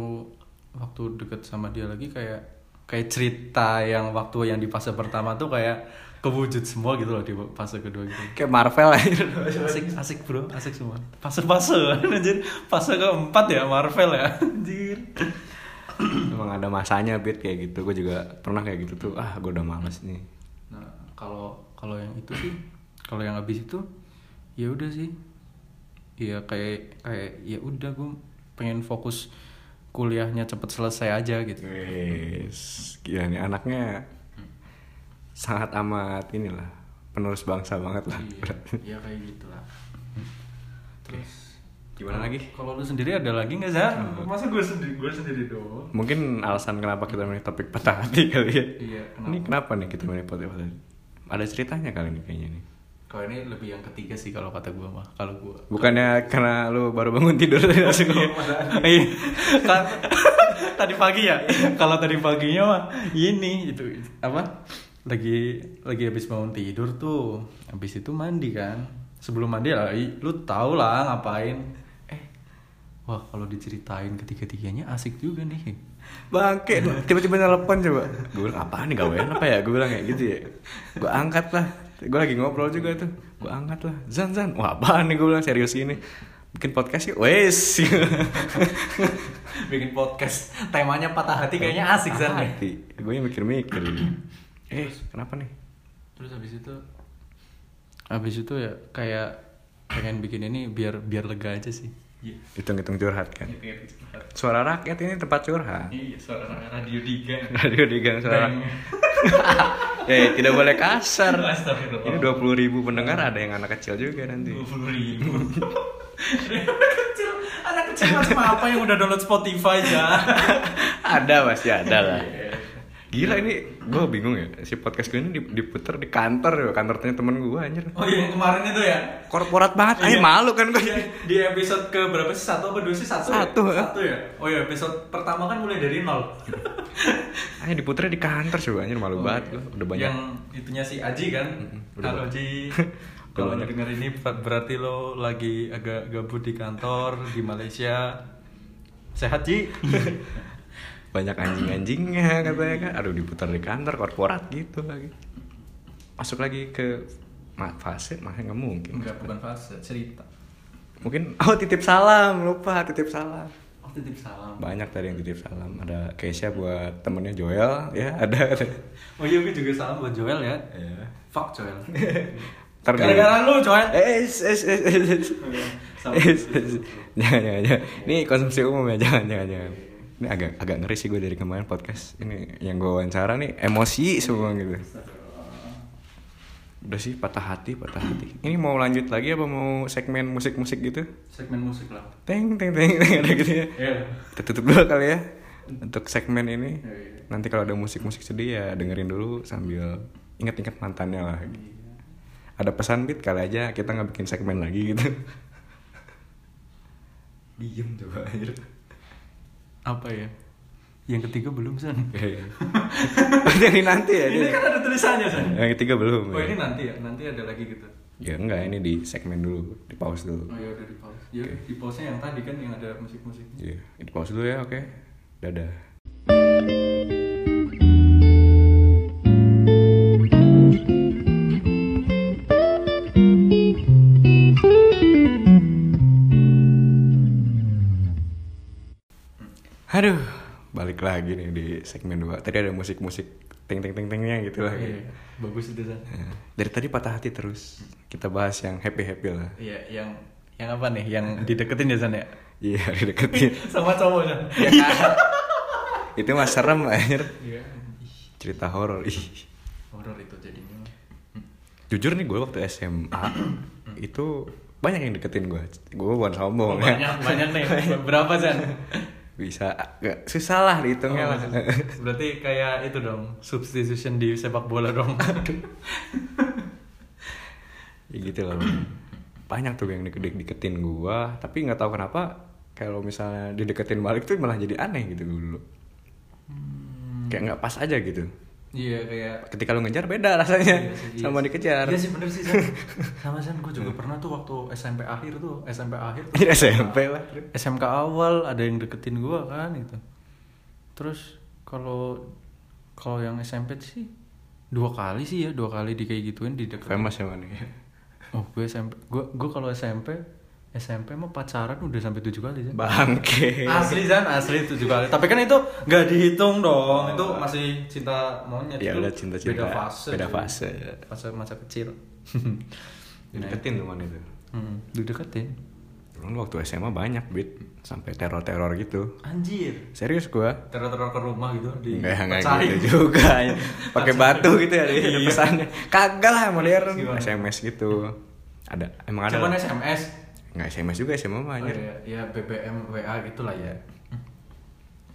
waktu deket sama dia lagi kayak kayak cerita yang waktu yang di fase pertama tuh kayak kewujud semua gitu loh di fase kedua gitu kayak Marvel ya. aja asik asik bro asik semua fase fase anjir fase keempat ya Marvel ya anjir emang ada masanya bit kayak gitu gue juga pernah kayak gitu tuh ah gue udah males nih Nah, kalau kalau yang itu sih, kalau yang habis itu ya udah sih. Ya kayak kayak ya udah gue pengen fokus kuliahnya cepet selesai aja Iya. gitu. Wes, gila nih anaknya sangat amat inilah penerus bangsa banget lah. Iya, ya kayak gitulah. Terus Gimana lagi? Kalau lu sendiri ada lagi nggak sih? Masa gue sendiri gue sendiri doang. Mungkin alasan kenapa kita milih topik patah hati kali ya. Iya, kenapa? Ini kenapa nih kita milih topik patah hati? Ada ceritanya kali ini kayaknya nih. Kalau ini lebih yang ketiga sih kalau kata gue mah. Kalau gue Bukannya karena lu baru bangun tidur tadi langsung ya? Iya. Kan tadi pagi ya. Kalau tadi paginya mah ini itu apa? Lagi lagi habis bangun tidur tuh. Habis itu mandi kan. Sebelum mandi lah, i- lu tau lah ngapain. Eh, wah kalau diceritain ketiga-tiganya asik juga nih. Bangke, tiba-tiba telepon coba. Gue bilang apaan nih gawean apa ya? Gue bilang kayak gitu ya. Gue angkat lah. Gue lagi ngobrol juga tuh. Gue angkat lah. Zan Zan, wah apaan nih gue bilang serius gini. Bikin podcast yuk, wes. Bikin podcast, temanya patah hati kayaknya asik Zan ya? nih. Gue mikir-mikir. ini. Eh, kenapa nih? terus habis itu habis itu ya kayak pengen bikin ini biar biar lega aja sih Iya. Hitung-hitung curhat kan. Iya, iya. Suara rakyat ini tempat curhat. Iya, suara radio Diga. Radio digang suara. Bang. Eh, tidak boleh kasar. Astagfirullah. Ini 20.000 ribu pendengar ada yang anak kecil juga nanti. puluh ribu. kecil anak kecil macam apa yang udah download Spotify ya ada pasti ada lah gila ini gue bingung ya si podcast gue ini dip- diputer di kantor ya kantornya temen gue anjir oh iya yang kemarin itu ya korporat banget anjir malu kan gue Iya, di episode ke berapa sih satu apa dua sih satu ya? Satu, ya. satu ya oh iya episode pertama kan mulai dari nol anjir diputernya di kantor coba anjir malu banget gue udah banyak yang itunya si Aji kan udah halo banyak. Ji Udah kalau lo banyak. denger ini ber- berarti lo lagi agak gabut di kantor di Malaysia sehat Ji banyak anjing-anjingnya katanya kan aduh diputer di kantor korporat gitu lagi masuk lagi ke ma- fase mah nggak mungkin enggak bukan fase cerita mungkin oh titip salam lupa titip salam oh titip salam banyak tadi yang titip salam ada Keisha buat temennya Joel ya ada, ada. oh iya gue juga salam buat Joel ya Ya. fuck Joel Ntar di- gara-gara lu Joel Eh, es, es, es, es, es. Sama. Es, es. Jangan, jangan, jangan. Ini konsumsi umum ya, jangan, jangan, jangan. Ini agak agak ngeri sih gue dari kemarin podcast ini yang gue wawancara nih emosi semua gitu. Udah sih patah hati, patah hati. Ini mau lanjut lagi apa mau segmen musik-musik gitu? segmen musik lah Teng teng teng teng ada gitu ya. Iya. Kita tutup dulu kali ya untuk segmen ini. Iya, iya. Nanti kalau ada musik-musik sedih ya dengerin dulu sambil inget-inget mantannya lah. Ada pesan bit kali aja kita nggak bikin segmen lagi gitu. Diem coba aja. apa ya yang ketiga belum san Jadi nanti ya. ini dia. Eh, kan ada tulisannya san ya, Yang ketiga belum. oh ya. ini nanti ya nanti ada lagi gitu Ya enggak, ini di segmen dulu, di pause dulu. Oh ya udah di pause. Ya Oke. di pause nya yang tadi kan yang ada musik-musik. Iya, di pause dulu ya, oke. Dadah. Aduh, balik lagi nih di segmen 2. Tadi ada musik-musik ting ting ting tingnya gitu lah. Iya, gitu. bagus itu Zan. Nah, Dari tadi patah hati terus. Kita bahas yang happy-happy lah. Iya, yang yang apa nih? Yang dideketin ya Zan ya? Iya, deketin. Sama cowok Zan. Itu mah serem anjir. Iya. Ih, Cerita horor. Ih. Horor itu jadinya. jujur nih gue waktu SMA itu banyak yang deketin gue gue bukan sombong ya. Banyak banyak nih. Berapa Zan? bisa gak, susah lah dihitungnya Oh, lah Berarti kayak itu dong, substitution di sepak bola dong. ya gitu loh banyak tuh yang deket deketin gue tapi nggak tahu kenapa kalau misalnya dideketin balik tuh malah jadi aneh gitu gua dulu Hmm. kayak nggak pas aja gitu Iya kayak ketika lu ngejar beda rasanya Iya, sama dikejar Iya. Iya sih bener sih San. Sama San gue juga pernah tuh waktu SMP akhir tuh SMP akhir tuh Ini SMP lah SMK awal ada yang deketin gue kan gitu terus kalau kalau yang SMP sih dua kali sih ya dua kali di kayak gituin di deketin famous ya mana oh gue SMP gue gue kalau SMP SMP mah pacaran udah sampai tujuh kali Zan. bangke asli Zan asli tujuh kali tapi kan itu nggak dihitung dong itu masih cinta monyet ya Itu Oh. udah cinta cinta beda fase beda cuy. fase ya. fase masa kecil deketin teman itu hmm, dideketin Dulu waktu SMA banyak bit sampai teror-teror gitu. anjir Serius gua. teror-teror ke rumah gitu di Enggak enggak pecahin. gitu juga. Pakai batu gitu ya ada Iya. pesannya. Kagak lah modern. Gimana? SMS gitu. Ada emang ada. Cuman SMS. Enggak SMS juga SMA mah Oh, anjir. ya, ya BBM WA gitulah ya.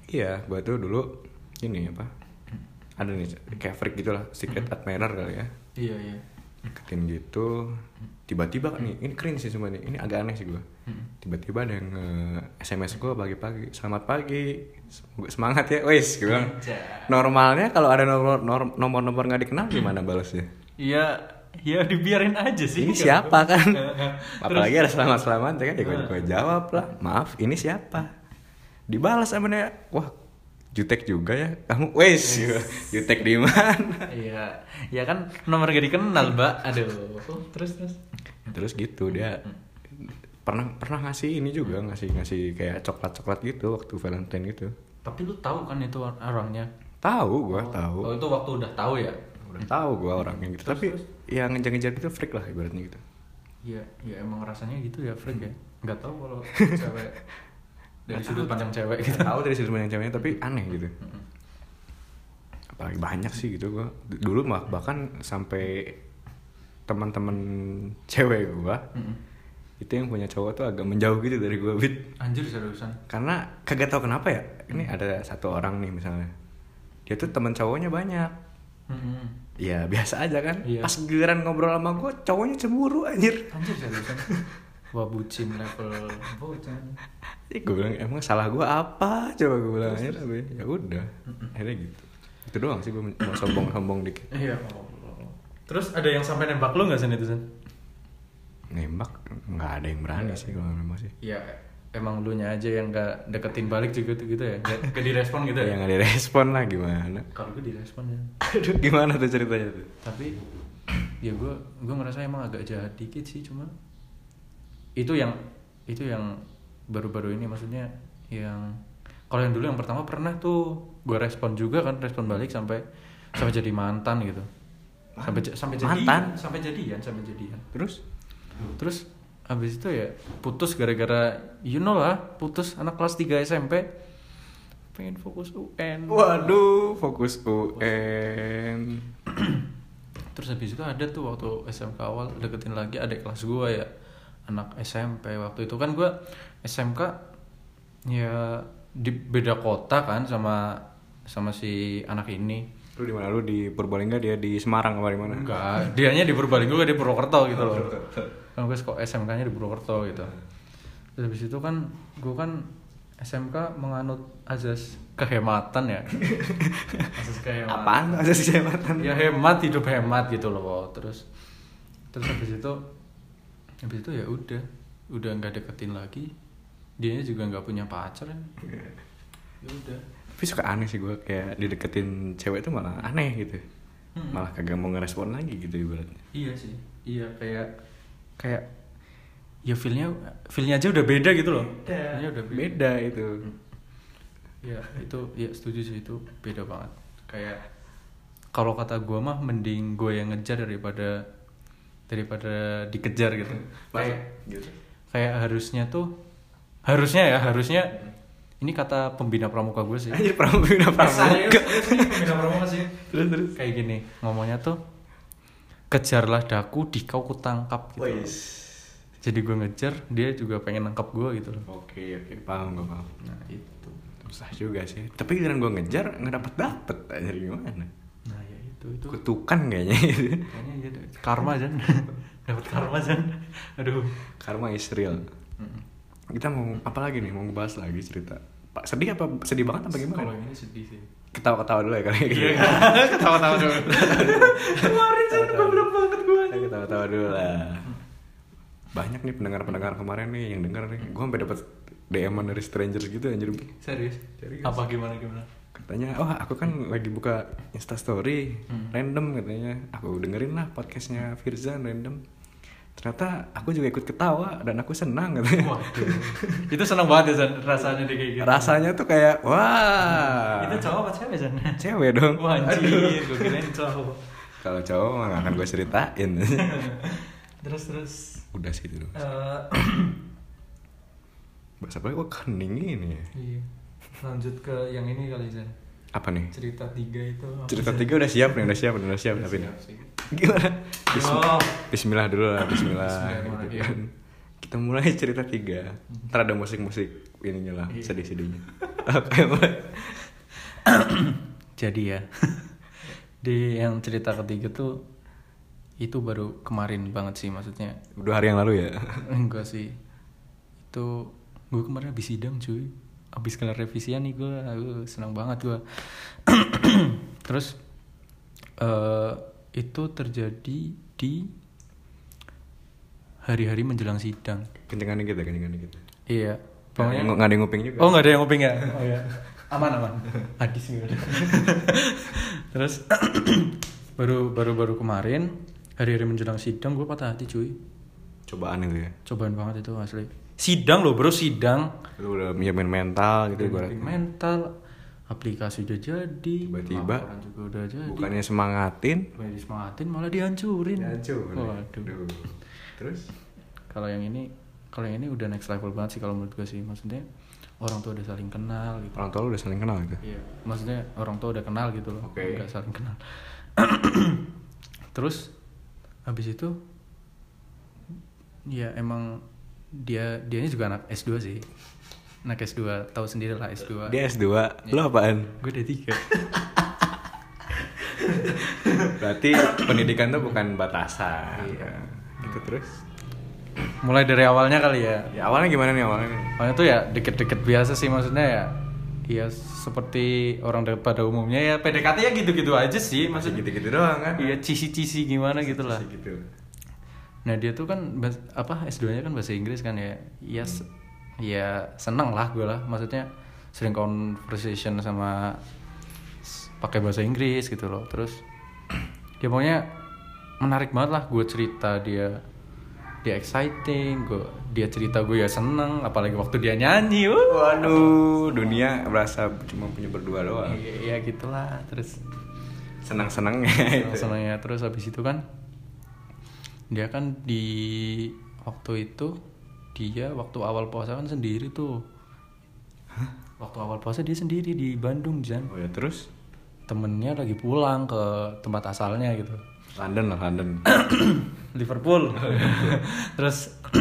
Iya, gua tuh dulu ini apa? Ada nih kayak freak gitu lah, secret Hmm. admirer kali ya. Iya iya. Deketin gitu tiba-tiba nih ini keren sih semua nih ini agak aneh sih gua tiba-tiba ada yang eh, nge- sms gua pagi-pagi selamat pagi Semoga- semangat ya wes gue bilang Anjay. normalnya kalau ada nomor nor- nomor-nomor nggak dikenal gimana balasnya Iya, ya dibiarin aja sih. ini siapa kan Apalagi apalagi ada selamat selamat kan ya gue jawab lah maaf ini siapa dibalas sama dia wah jutek juga ya kamu wes jutek di mana Iya, ya kan nomor gak dikenal, Mbak. Aduh. Terus terus. terus gitu dia pernah pernah ngasih ini juga ngasih ngasih kayak coklat coklat gitu waktu Valentine gitu Tapi lu tahu kan itu or- orangnya? tahu gua tahu Oh, itu waktu udah tahu ya. udah tahu gua orangnya gitu tapi yang ngejar-ngejar gitu freak lah ibaratnya gitu Iya, ya emang rasanya gitu ya, Frank ya. Enggak tahu kalau cewek dari sudut pandang cewek gitu. Nggak tahu dari sudut pandang ceweknya tapi aneh gitu Hmm. apalagi banyak sih gitu gua D- dulu mah bahkan sampai teman-teman cewek gua Mm-mm. itu yang punya cowok tuh agak menjauh gitu dari gua bit Anjir seriusan. karena kagak tahu kenapa ya ini Hmm. ada satu orang nih misalnya dia tuh teman cowoknya banyak Mm-mm. ya biasa aja kan Iya. pas giliran ngobrol sama gue cowoknya cemburu anjir Anjir seriusan. Wah, bucin level bucin. Ih, gue bilang emang salah gue apa coba gue bilang akhirnya gue, ya udah akhirnya gitu itu doang sih gue mau sombong sombong dikit Iya. Terus ada yang sampai nembak lu nggak sen itu sen? nembak nggak ada yang berani sih kalau nembak sih Iya. Emang lu nya aja yang nggak deketin balik juga tuh gitu ya? Gak, gak direspon gitu ya ya? nggak direspon lah gimana Kalau gue direspon ya. aduh gimana tuh ceritanya tuh Tapi ya gue gue ngerasa emang agak jahat dikit sih cuma itu yang itu yang baru-baru ini maksudnya yang kalau yang dulu yang pertama pernah tuh gue respon juga kan respon balik sampai sampai jadi mantan gitu sampai ja- sampai jadian, Mantan? sampai jadian sampai jadian terus Terus habis itu ya putus gara-gara you know lah, putus anak kelas 3 SMP pengen fokus UN. waduh fokus UN Terus habis itu ada tuh waktu SMK awal deketin lagi adik kelas gua ya anak SMP waktu itu kan gua SMK ya di beda kota kan sama sama si anak ini. lu di mana lu di Purbalingga dia di Semarang apa di mana Enggak, dianya di Purbalingga gue di Purwokerto gitu loh. Kan gue kok SMK-nya di Purwokerto gitu. Terus habis itu kan gue kan SMK menganut azas kehematan ya. azas kehematan. apaan ada sih jabatan Ya hemat hidup hemat gitu loh. Terus terus habis itu habis itu ya udah udah nggak deketin lagi dianya juga nggak punya pacar kan ya udah tapi suka aneh sih gue kayak dideketin cewek itu malah aneh gitu Mm-mm. malah kagak mau ngerespon lagi gitu ibaratnya iya sih iya kayak kayak ya feelnya feelnya aja udah beda gitu loh Iya. Feelnya udah beda. beda itu Hmm. ya itu ya setuju sih itu beda banget kayak kalau kata gua mah mending gue yang ngejar daripada daripada dikejar gitu Masa? kayak Gitu. kayak harusnya tuh harusnya ya harusnya ini kata pembina pramuka gue sih anjir pramuka Gitu. pramuka Iya, pembina pramuka sih terus terus kayak gini ngomongnya tuh kejarlah daku dikau kutangkap gitu Wais. jadi gue ngejar dia juga pengen nangkap gue gitu loh oke oke paham gue paham nah itu susah juga sih tapi giliran gue ngejar nggak dapet dapet anjir gimana nah ya itu itu kutukan kayaknya gitu. kayaknya iya deh. karma Jan dapat karma Jan aduh karma is real Hmm. kita mau apa lagi nih mau ngebahas lagi cerita pak sedih apa sedih banget apa gimana kalau ini sedih sih ketawa-ketawa dulu ya kali ya gitu. ketawa-tawa dulu kemarin sih goblok banget gue Kita ketawa-tawa dulu lah. Banyak nih pendengar-pendengar kemarin nih yang denger nih. Gue sampai dapat DM -an dari strangers gitu anjir. serius Serius. apa gimana gimana Katanya, "Wah, aku kan lagi buka Insta story Hmm. random katanya. Aku dengerin lah podcastnya Firzan random." Ternyata aku juga ikut ketawa dan aku senang katanya. waduh itu seneng banget ya Jan rasanya dia kayak gitu Rasanya tuh kayak wah. itu cowok apa cewek Jan cewek dong. wah anjir gue kirain cowok Kalau cowok mah nggak akan gue ceritain. terus terus Udah sih itu. eh, Bahasa apa? Gue kening ini. ya. iya lanjut ke yang ini kali Jan Apa nih? cerita tiga itu apa, Oh. Cerita Jan? tiga udah siap nih, udah siap, udah siap, tapi nih. Siap sih. Gimana? Bism- Oh. Bismillah dulu lah, Bismillah. Bismillah, gitu kan. Kita mulai cerita tiga. Ntar ada musik-musik ininya lah, Iya. sedih-sedihnya. Oke, mulai. jadi ya di yang cerita ketiga tuh itu baru kemarin banget sih maksudnya Dua hari yang lalu ya. enggak sih itu gue kemarin habis sidang cuy habis kelar revisian nih gue aduh, senang banget gue terus eh itu terjadi di hari-hari menjelang sidang Kencengan dikit ya, kencengan dikit. iya Nggak ada pokoknya yang- iya. nggak ada yang nguping juga. Oh nggak ada yang nguping ya? Oh ya. Aman aman. Hadis nggak ada. Terus baru baru baru kemarin hari-hari menjelang sidang gue patah hati cuy. Cobaan itu ya. Cobaan banget itu asli. Sidang loh bro sidang. Lu udah nyiapin mental gitu ibarat. Iya. Mental aplikasi udah jadi. Tiba-tiba. laporan juga udah jadi. Bukannya Bukannya semangatin, disemangatin malah dihancurin. hancur. Waduh. Aduh. Terus kalau yang ini kalau yang ini udah next level banget sih kalau menurut gue sih maksudnya orang tuh udah saling kenal gitu. orang tua lu udah saling kenal gitu. Iya, maksudnya orang tua udah kenal gitu loh, Oke. nggak saling kenal. Terus habis itu ya emang dia dianya juga anak S2 sih. Anak S2, tahu sendiri lah S2. Dia S2, Iya. lu apaan? Gue D3. Berarti pendidikan tuh bukan batasan. Gitu terus. Mulai dari awalnya kali ya. Ya awalnya gimana nih awalnya? nih? Awalnya tuh ya deket-deket biasa sih maksudnya ya. Ya seperti orang de- pada umumnya ya PDKT ya gitu-gitu aja sih Masih maksudnya. gitu-gitu doang kan? Iya cisi-cisi gimana gitu lah. Masih gitu. Nah dia tuh kan bahas- apa S2-nya kan bahasa Inggris kan ya. Ya se- ya seneng lah gue lah. Maksudnya sering conversation sama s- pakai bahasa Inggris gitu loh. Terus dia pokoknya menarik banget lah gue cerita dia dia exciting, gue dia cerita gue ya seneng, apalagi waktu dia nyanyi, wuh. Waduh, dunia berasa cuma punya berdua doang. Iya ya gitulah, terus Senang-senangnya itu. senangnya terus habis itu kan dia kan di waktu itu dia waktu awal puasa kan sendiri tuh waktu awal puasa dia sendiri di Bandung Jan Oh ya terus temennya lagi pulang ke tempat asalnya gitu London lah London. Hmm, Liverpool terus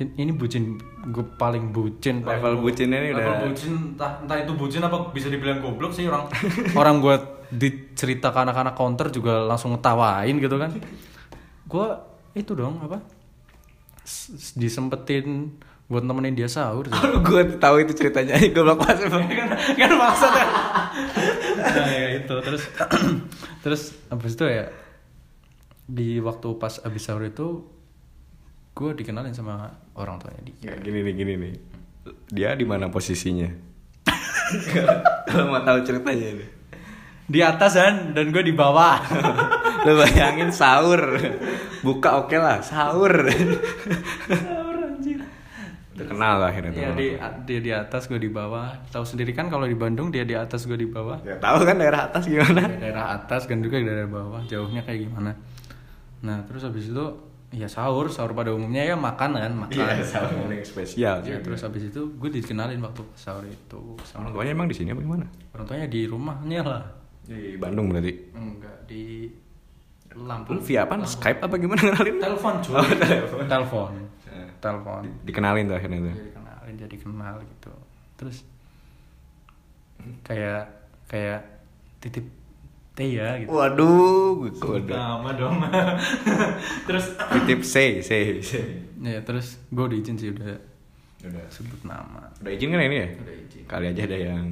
in- ini bucin gue paling bucin paling Level bucinnya ini Level udah- bucin entah, entah itu bucin apa bisa dibilang goblok sih orang orang gue dicerita ke anak-anak counter juga langsung ngetawain gitu kan gue itu dong apa s- s- disempetin buat nemenin dia sahur gitu. sih. Aduh, gue tahu itu ceritanya aja goblok pas emang. kan maksudnya nah ya itu terus terus abis itu ya di waktu pas abis sahur itu gue dikenalin sama orang tuanya di Ya, gini nih, gini nih. Dia di mana posisinya? Kalau mau tahu ceritanya ini. di atas kan dan gue di bawah Lo bayangin sahur. Buka oke lah, sahur. Terkenal lah akhirnya. ya tuh. di dia di atas gue di bawah tahu sendiri kan kalau di Bandung dia di atas gue di bawah Ya tahu kan daerah atas gimana? Dari daerah atas kan juga dari daerah bawah jauhnya kayak gimana nah terus habis itu ya sahur sahur pada umumnya ya makan kan makan sahur yang spesial. Ya, terus habis itu gue dikenalin waktu pas sahur itu Iya. Orang sama tuanya emang di sini apa gimana? orang tuanya di rumahnya lah Di Bandung berarti. enggak di Lampung Lu via apa? Oh, Skype apa gimana kenalin? telepon cuy telepon telepon Ya. telepon Dikenalin tuh akhirnya tuh. jadi kenalin jadi kenal gitu terus kayak kayak titip teh ya gitu Waduh, Oh, waduh. Nama dong. Terus Titip say, say, ya terus gue diizin sih udah udah sebut nama Udah izin kan ini ya? Udah izin. Kali aja ada yang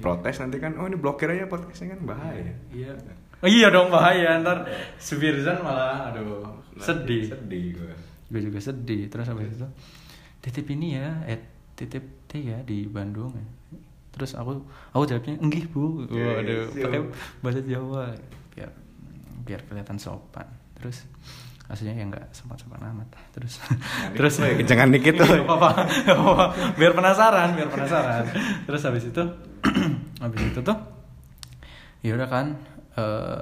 protes nanti kan, oh ini blokir aja podcastnya kan bahaya. iya iya dong bahaya ntar Subirzan malah aduh sedih Sedih gue. gue juga sedih terus habis itu titip ini ya eh titip teh ya di Bandung ya terus aku aku jawabnya enggih bu waduh Iya, siap. pakai bahasa Jawa biar biar kelihatan sopan terus aslinya ya nggak sopan sopan amat terus terus dikit, woy, kencengan gitu, eh, dikit, woy. Nggak apa-apa, nggak apa-apa. biar penasaran biar penasaran terus habis itu habis itu tuh ya udah kan eh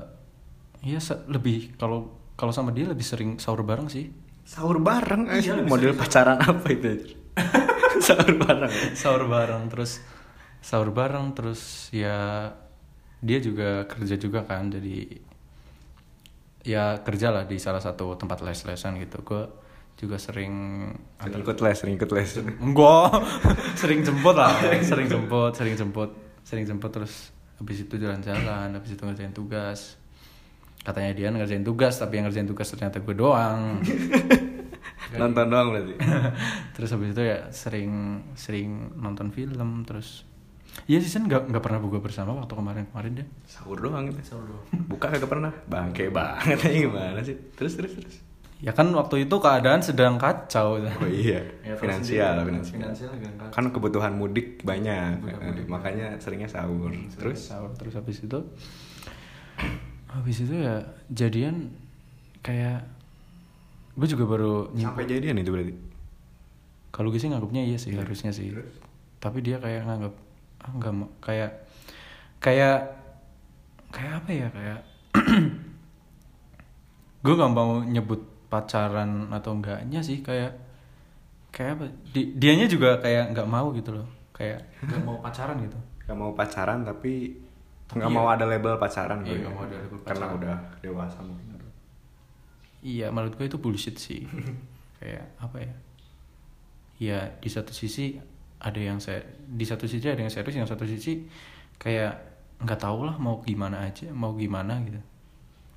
ya se- lebih kalau kalau sama dia lebih sering sahur bareng sih Sahur bareng, eh. Iya, bisa, model bisa. pacaran apa itu? Sahur bareng. sahur bareng terus sahur bareng terus ya dia juga kerja juga kan jadi ya kerja lah di salah satu tempat les-lesan gitu gue juga sering Sering ikut les, sering ikut les. enggak sering jemput lah sering jemput sering jemput sering jemput terus habis itu jalan-jalan habis itu ngerjain tugas katanya dia ngerjain tugas tapi yang ngerjain tugas ternyata gue doang Nonton doang berarti. terus habis itu ya sering sering nonton film terus iya sih Sen, nggak nggak pernah buka bersama waktu kemarin kemarin deh Sahur doang itu. Sahur doang. Buka kagak pernah. Bangke banget aja gimana sih? Terus terus terus. ya kan waktu itu keadaan sedang kacau Ya, Oh iya, finansial, finansial. Kan kan kebutuhan mudik banyak, eh, makanya seringnya sahur. Terus sahur terus habis itu habis itu ya jadian kayak gue juga baru nyim- sampai jadian itu berarti. kalau gue sih nganggapnya iya sih harusnya sih tapi dia kayak nganggap ah nggak mau kayak kayak kayak apa ya kayak gue nggak mau nyebut pacaran atau enggaknya sih kayak kayak apa di, dianya juga kayak nggak mau gitu loh kayak nggak mau pacaran gitu Gak mau pacaran tapi nggak mau ada label pacaran kali Iya, ya. nggak mau ada label Karena pacaran. udah dewasa mungkin. Iya, menurut gue itu bullshit sih. kayak apa ya? Ya di satu sisi ada yang saya di satu sisi ada yang serius, yang satu sisi kayak nggak tahu lah mau gimana aja, mau gimana gitu.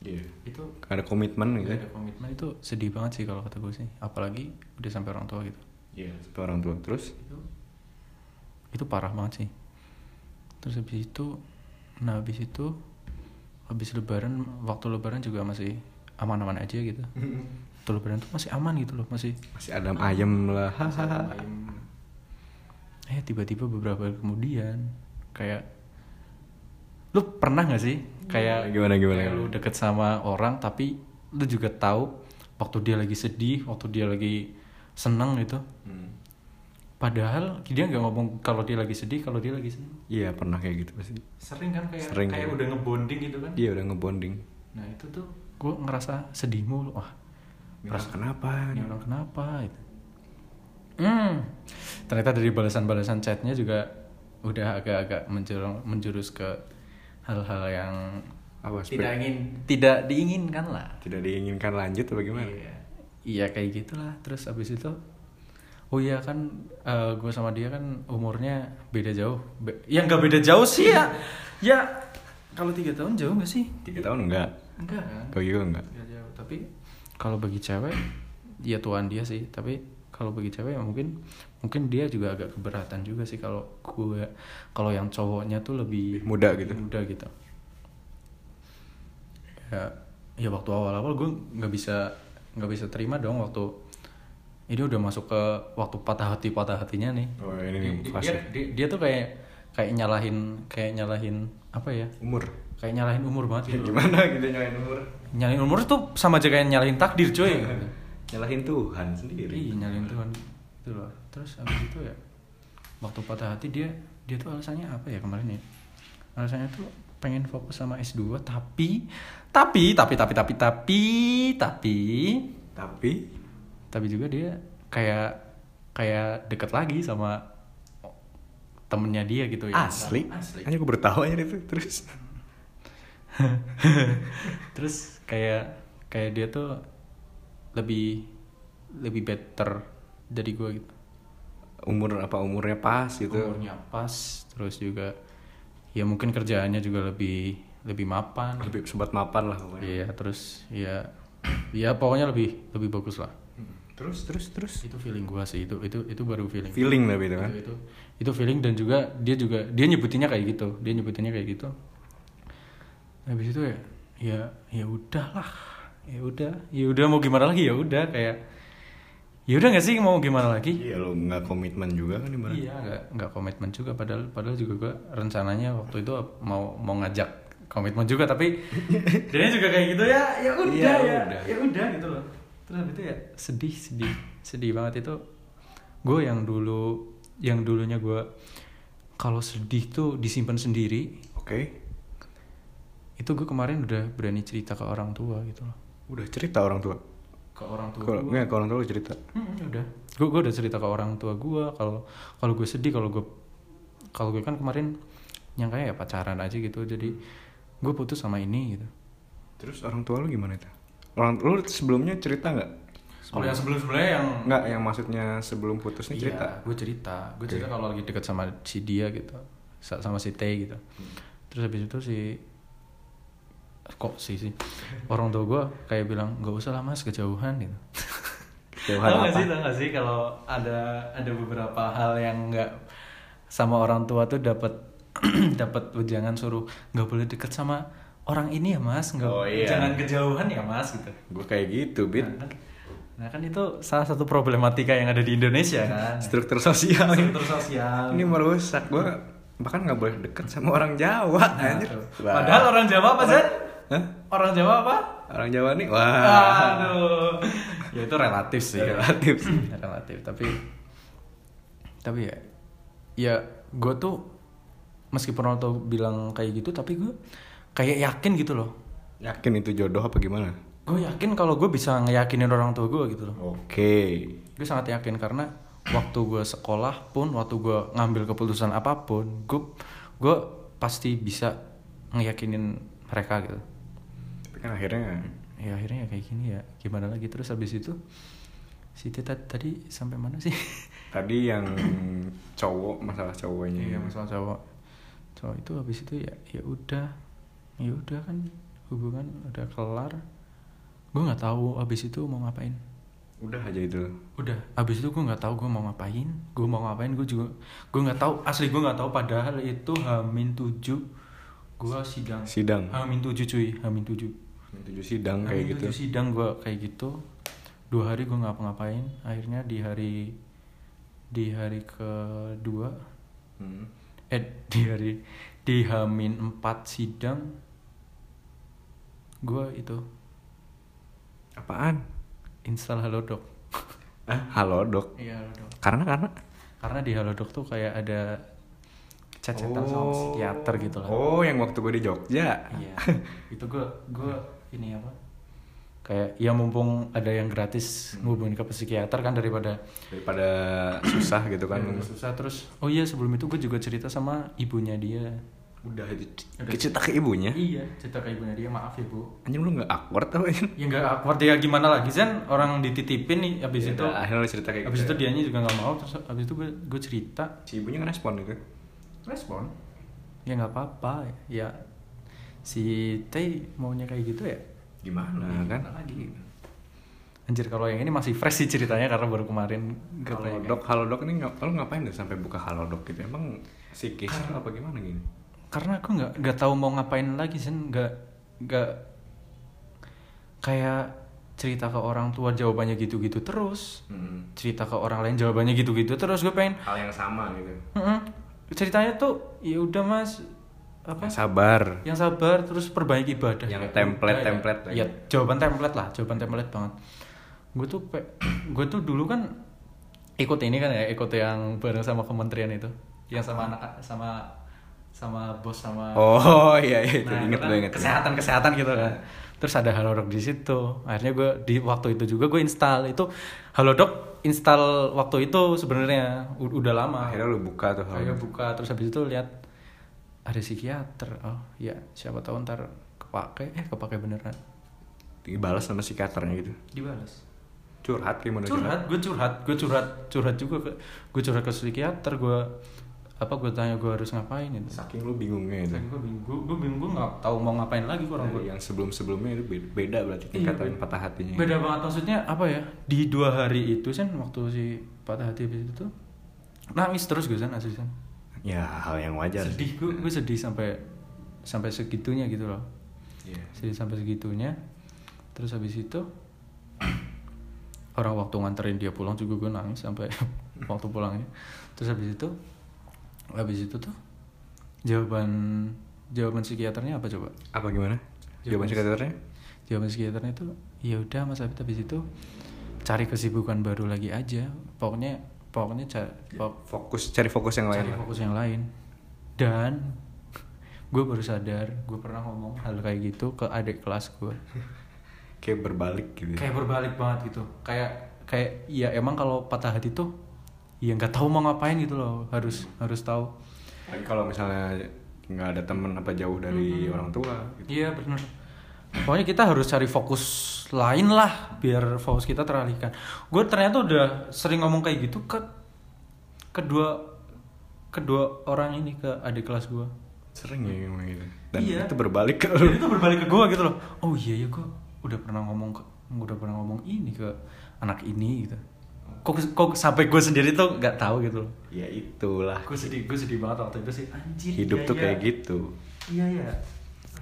Iya. Itu Nggak ada komitmen gitu. ada komitmen itu sedih banget sih kalau kata gue sih. Apalagi udah sampai orang tua gitu. Iya, sampai orang tua terus. Itu parah banget sih. Terus habis itu, nah habis itu habis lebaran waktu lebaran juga masih aman-aman aja gitu. Waktu lebaran tuh masih aman gitu loh, masih Masih ada ayam lah. Hahaha. eh tiba-tiba beberapa hari kemudian kayak lu pernah nggak sih kayak Gimana, gimana, kayak gimana? lu deket sama orang tapi lu juga tahu waktu dia lagi sedih waktu dia lagi seneng gitu Hmm. padahal dia nggak ngomong kalau dia lagi sedih kalau dia lagi seneng Iya, pernah kayak gitu pasti. sering kan kayak Sering, kayak iya. udah ngebonding gitu kan Dia udah ngebonding. nah itu tuh gue ngerasa sedih mulu wah Terus kenapa? ini orang kenapa gitu. Hmm. Ternyata dari balasan-balasan chatnya juga udah agak-agak menjurus, menjurus ke hal-hal yang Awas, Beb. ingin tidak diinginkan lah. tidak diinginkan lanjut atau gimana? Iya. Iya kayak gitulah. Terus abis itu Oh iya kan gue sama dia kan umurnya beda jauh. Be- ya nggak beda jauh sih ya. ya kalau tiga tahun jauh nggak sih? Tiga tahun enggak? Enggak kan? Kau juga enggak? Gak jauh. Tapi kalau bagi cewek, ya tuan dia sih. Tapi kalau bagi cewek ya mungkin mungkin dia juga agak keberatan juga sih kalau gue kalau yang cowoknya tuh lebih Muda gitu. muda gitu. Ya, ya waktu awal-awal gue nggak bisa nggak bisa terima dong waktu ini udah masuk ke waktu patah hati patah hatinya nih Oh, ini nih Di- di- fase. dia, dia, dia tuh kayak kayak nyalahin kayak nyalahin apa ya Umur. kayak nyalahin umur banget gitu. Gimana gitu nyalain umur? nyalahin umur tuh sama aja kayak nyalahin takdir coy iya. Nyalahin Tuhan sendiri. Iya nyalain Tuhan itu loh. Terus abis itu ya waktu patah hati dia dia tuh alasannya apa ya kemarin ya? Alasannya tuh pengen fokus sama S2 tapi tapi tapi tapi tapi tapi tapi Tapi tapi juga dia kayak kayak deket lagi sama temennya dia gitu ya asli. asli Hanya gue bertahu aja itu terus. terus kayak kayak dia tuh lebih lebih better dari gue gitu Umur apa umurnya pas gitu. umurnya pas terus juga ya mungkin kerjaannya juga lebih lebih mapan Lebih sobat mapan lah pokoknya. iya terus ya ya pokoknya lebih lebih bagus lah Terus terus terus. itu feeling gua sih itu itu itu baru feeling Feeling tapi itu kan. itu, itu itu feeling dan juga dia juga dia nyebutinnya kayak gitu dia nyebutinnya kayak gitu habis itu ya ya ya udahlah ya udah ya udah mau gimana lagi ya udah kayak ya udah nggak sih mau gimana lagi Iya lo nggak komitmen juga kan ibaratnya. Iya, nggak nggak komitmen juga. Padahal padahal juga gue rencananya waktu itu mau mau ngajak komitmen juga, tapi dia juga kayak gitu ya. Ya udah Iya, ya, udah. ya udah gitu loh. Terus habis itu ya sedih sedih sedih banget itu. Gue yang dulu yang dulunya gue kalau sedih tuh disimpan sendiri. Oke. Itu gue kemarin udah berani cerita ke orang tua gitu loh. Udah cerita orang tua. Ke orang tua. Kalau gua. nggak kalau orang tua lo cerita. Hmm, udah. Gue gue udah cerita ke orang tua gue kalau kalau gue sedih kalau gue kalau gue kan kemarin nyangkanya ya pacaran aja gitu jadi gue putus sama ini gitu. Terus orang tua lo gimana itu? Orang lo sebelumnya cerita nggak? Kalau yang sebelum Iya. sebelumnya yang Nggak yang maksudnya sebelum putusnya cerita. gue cerita. Gue cerita kalau lagi deket sama si dia gitu, sa- sama si T gitu. Hmm. Terus habis itu si kok sih sih orang tua gue kayak bilang nggak usah lah mas kejauhan gitu. Kejauhan Tau nggak apa? sih, tau nggak sih kalau ada ada beberapa hal yang nggak sama orang tua tuh dapat dapat wejangan suruh nggak boleh deket sama orang ini ya mas, nggak Oh, iya. jangan kejauhan ya mas gitu. Gue kayak gitu, bit. Nah, kan- Nah kan itu salah satu problematika yang ada di Indonesia kan. Struktur sosial. Struktur sosial. Ini merusak gue bahkan nggak boleh deket sama orang Jawa Nah, anjir. tuh. Wah. Padahal orang Jawa apa Zan? Hah? Orang Jawa apa? orang Jawa nih wah Aduh. ya itu relatif sih. Relatif sih. relatif, tapi tapi ya ya gue tuh meskipun orang tuh bilang kayak gitu tapi gue kayak yakin gitu loh yakin itu jodoh apa gimana? gue yakin kalau gue bisa ngeyakinin orang tua gue gitu loh Oke. gue sangat yakin karena waktu gue sekolah pun waktu gue ngambil keputusan apapun gue gue pasti bisa ngeyakinin mereka gitu Tapi kan akhirnya ya akhirnya ya kayak gini ya gimana lagi terus habis itu si Tita tadi sampai mana sih tadi yang cowok masalah cowoknya. ya, iya masalah cowok cowok itu habis itu ya ya udah ya udah kan hubungan udah kelar gue nggak tahu habis itu mau ngapain Udah aja itu. udah abis itu gue nggak tahu gue mau ngapain gue mau ngapain gue juga gue nggak tahu asli gue nggak tahu padahal itu hamin tujuh gue sidang Sidang. hamin tujuh cuy hamin tujuh Tujuh sidang kayak Hamin gitu. tujuh sidang gue kayak gitu dua hari gue ngapa-ngapain akhirnya di hari di hari kedua Hmm. eh di hari di hamin empat sidang gue itu Apaan? install halodoc Ah, halo dok. iya halodoc Karena karena karena di Halodoc tuh kayak ada cacatan sama psikiater gitu lah. Oh, yang waktu gue di Jogja. Iya. itu gue gue ini apa? Kayak ya mumpung ada yang gratis Hmm. ngubungin ke psikiater kan daripada Daripada susah gitu kan. daripada susah terus. Oh iya sebelum itu gue juga cerita sama ibunya dia. Udah itu Udah. cerita ke ibunya. Iya cerita ke ibunya dia maaf ya bu. Anjing lu gak awkward apa anjing? Ya nggak awkward ya gimana lagi Zan orang dititipin nih abis Ya itu udah, akhirnya lu cerita kayak abis gitu itu dianya juga nggak mau terus abis itu gue gue cerita Si ibunya ngerespon gitu. respon ya nggak apa-apa ya si Teh maunya kayak gitu ya Gimana kan? gimana lagi anjir kalau yang ini masih fresh sih ceritanya karena baru kemarin gak Kalau dok, halo dok ini ngap- lu ngapain tuh sampai buka halo dok gitu? Emang psikis lu apa gimana gini? karena aku nggak nggak tahu mau ngapain lagi sen nggak nggak kayak cerita ke orang tua jawabannya gitu-gitu terus Mm-mm. Hmm. cerita ke orang lain jawabannya gitu-gitu terus gue pengen hal yang sama gitu "Mm-mm." ceritanya tuh ya udah mas apa sabar yang sabar terus perbaiki ibadah Yang Kayak template-template udah, ya, ya, jawaban template lah jawaban template banget gue tuh pe- gue tuh dulu kan ikut ini kan ya ikut yang bareng sama kementerian itu yang sama anak sama sama bos sama oh iya iya itu Nah, inget itu gue kan inget kesehatan kesehatan gitu kan terus ada halodoc di situ akhirnya gue di waktu itu juga gue install itu halodoc install waktu itu sebenarnya U- udah lama akhirnya lu buka tuh Akhirnya buka terus habis itu lihat ada psikiater. Oh, ya siapa tahu ntar kepake eh kepake beneran. dibalas sama psikiaternya gitu Dibalas. curhat gimana Curhat, gue curhat, gue curhat, curhat juga ke gue curhat ke psikiater, gue apa gue tanya gue harus ngapain itu. saking lu bingungnya itu Gue bingung, gue gue bingung gue nggak tahu mau ngapain lagi kurang Dari gue. yang sebelum-sebelumnya itu beda, beda berarti Iya, tingkatan beda. patah hatinya Beda banget maksudnya apa ya? Di dua hari itu sen waktu si patah hati habis itu nangis terus gue sen asli sen. ya hal yang wajar sih. Sedih gue, gue sedih sampai sampai segitunya gitu loh. Iya. Jadi sampai segitunya. Terus habis itu orang waktu nganterin dia pulang juga gue nangis sampai waktu pulangnya. Terus habis itu habis itu tuh jawaban jawaban psikiaternya apa coba? apa gimana jawaban Jawaban psikiaternya Jawaban psikiaternya itu ya udah Mas Abid habis itu cari kesibukan baru lagi aja. Pokoknya pokoknya ca- pok- fokus cari fokus yang lain cari lah. fokus yang lain dan gue baru sadar gue pernah ngomong hal kayak gitu ke adik kelas gue kayak berbalik gitu kayak berbalik banget gitu kayak kayak ya emang kalau patah hati tuh ya nggak tahu mau ngapain gitu loh harus harus tahu Lagi kalau misalnya nggak ada temen apa jauh dari orang tua gitu. iya bener pokoknya kita harus cari fokus lain lah biar fokus kita teralihkan gue ternyata udah sering ngomong kayak gitu ke kedua kedua orang ini ke adik kelas gue sering ya ngomong gitu dan Iya. itu berbalik ke Jadi itu berbalik ke gue gitu loh oh iya ya gue udah pernah ngomong ke udah pernah ngomong ini ke anak ini gitu kok kok sampai gue sendiri tuh nggak tahu gitu loh ya itulah gue sedih gue sedih banget waktu itu sih anjir hidup iya, tuh iya. kayak gitu iya iya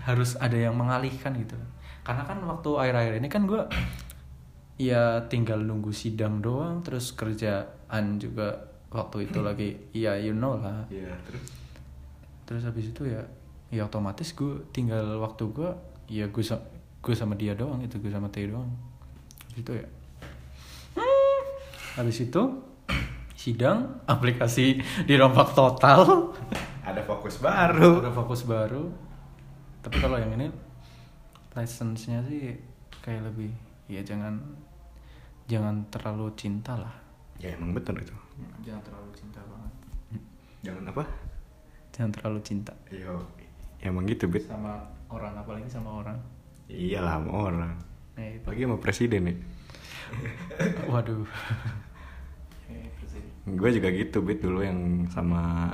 harus ada yang mengalihkan gitu karena kan waktu akhir-akhir ini kan gue ya tinggal nunggu sidang doang terus kerjaan juga waktu itu lagi iya you know lah ya terus terus habis itu ya ya otomatis gue tinggal waktu gue ya gue sa- gue sama dia doang itu gue sama Teh doang habis itu ya hmm, habis itu sidang aplikasi dirompak total ada fokus baru ada fokus baru tapi kalau yang ini license-nya sih kayak lebih ya jangan jangan terlalu cinta lah ya emang bener itu jangan terlalu cinta banget jangan apa jangan terlalu cinta yo emang gitu bet sama orang apalagi sama orang iyalah sama orang nah itu lagi sama presiden nih Waduh. Iya, gue juga gitu bet dulu yang sama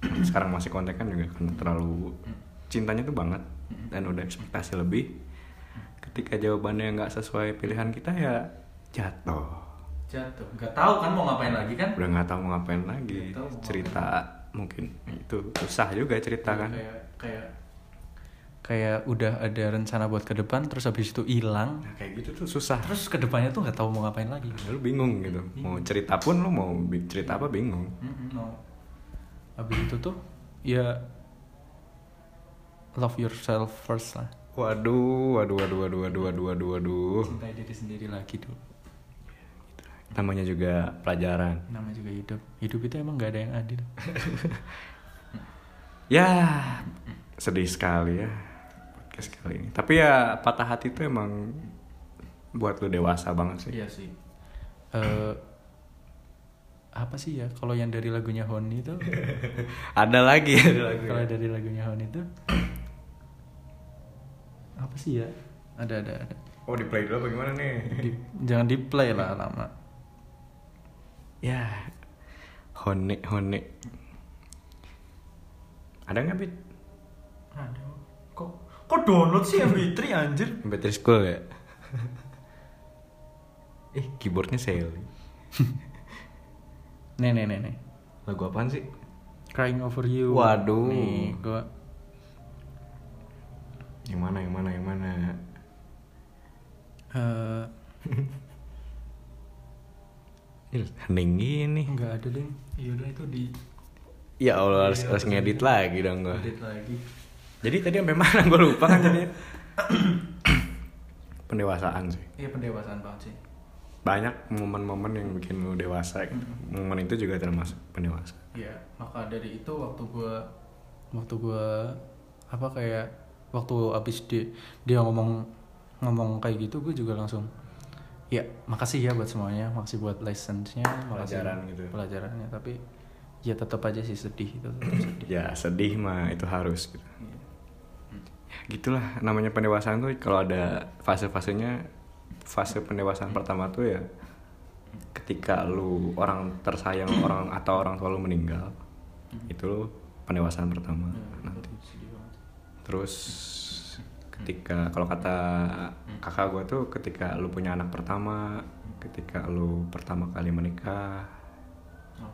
sekarang masih kontak kan juga karena terlalu cintanya tuh banget dan udah ekspektasi lebih ketika jawabannya nggak sesuai pilihan kita ya jatuh Jatuh. Gak tahu kan mau ngapain lagi kan? udah nggak tahu mau ngapain lagi Nggak tahu mau ngapain. cerita mungkin itu susah juga cerita kan Kayak kayak kayak udah ada rencana buat ke depan terus habis itu hilang. nah, kayak gitu tuh susah Terus ke depannya tuh nggak tahu mau ngapain lagi. lu bingung gitu mau cerita pun lu mau bi- cerita apa bingung Mm-mm, No. Oh. Habis itu tuh ya love yourself first lah. waduh waduh waduh waduh waduh waduh waduh waduh Cintai diri sendiri lagi dulu. namanya juga pelajaran Namanya juga hidup. Hidup itu emang nggak ada yang adil. ya sedih sekali ya podcast kali ini tapi ya patah hati itu emang buat lu dewasa banget sih Iya sih. Eh apa sih ya kalau yang dari lagunya Honi itu ada lagi ada lagi kalau dari lagunya Hon itu apa sih ya ada ada ada oh di play dulu bagaimana nih Di- jangan di play lah lama Ya, honek honek. Ada nggak bit? aduh kok kok download sih MP3 anjir Battery school ya? eh, keyboardnya Sally. nih nih nih nih Lagu apaan sih? crying over you Waduh. nih gua Yang mana, yang mana, yang mana? eh, Ih, Hening gini. Enggak ada link. Iya udah itu di Ya Allah harus, Iya, harus terus ngedit ini. lagi dong gua. edit lagi. Jadi tadi sampai mana gue lupa kan jadi pendewasaan sih. Iya pendewasaan banget sih. Banyak momen-momen yang bikin lu dewasa. gitu. Momen itu juga termasuk pendewasa. Iya, maka dari itu waktu gua waktu gua apa kayak waktu abis dia dia ngomong ngomong kayak gitu gue juga langsung ya makasih ya buat semuanya makasih buat license-nya makasih Pelajaran gitu. pelajarannya tapi ya tetap aja sih sedih itu tetap sedih Ya sedih mah itu harus gitu. Gitulah namanya pendewasaan tuh kalau ada fase-fasenya fase pendewasaan pertama tuh ya ketika lu orang tersayang orang atau orang tua lu meninggal itu lu pendewasaan pertama Iya, nanti itu sedih banget. terus ketika kalau kata kakak gue tuh ketika lu punya anak pertama ketika lu pertama kali menikah Oh,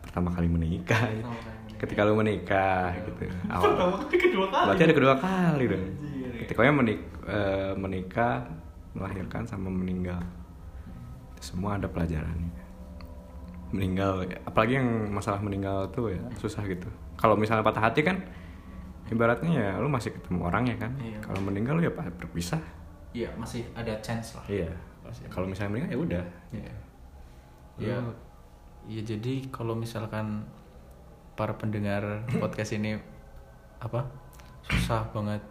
pertama kali menikah pertama kali menikah. ketika lu menikah gitu Pertama awal kali kedua kali berarti ada kedua kali dong Anjir, ya. ketika menik eh, menikah melahirkan sama meninggal semua ada pelajarannya meninggal apalagi yang masalah meninggal tuh ya susah gitu kalau misalnya patah hati kan ibaratnya ya lu masih ketemu orang ya kan Iya. kalau meninggal lu ya pa- berpisah iya masih ada chance lah iya kalau misalnya meninggal ya udah Iya. Ya. Ya jadi kalau misalkan para pendengar podcast ini apa susah banget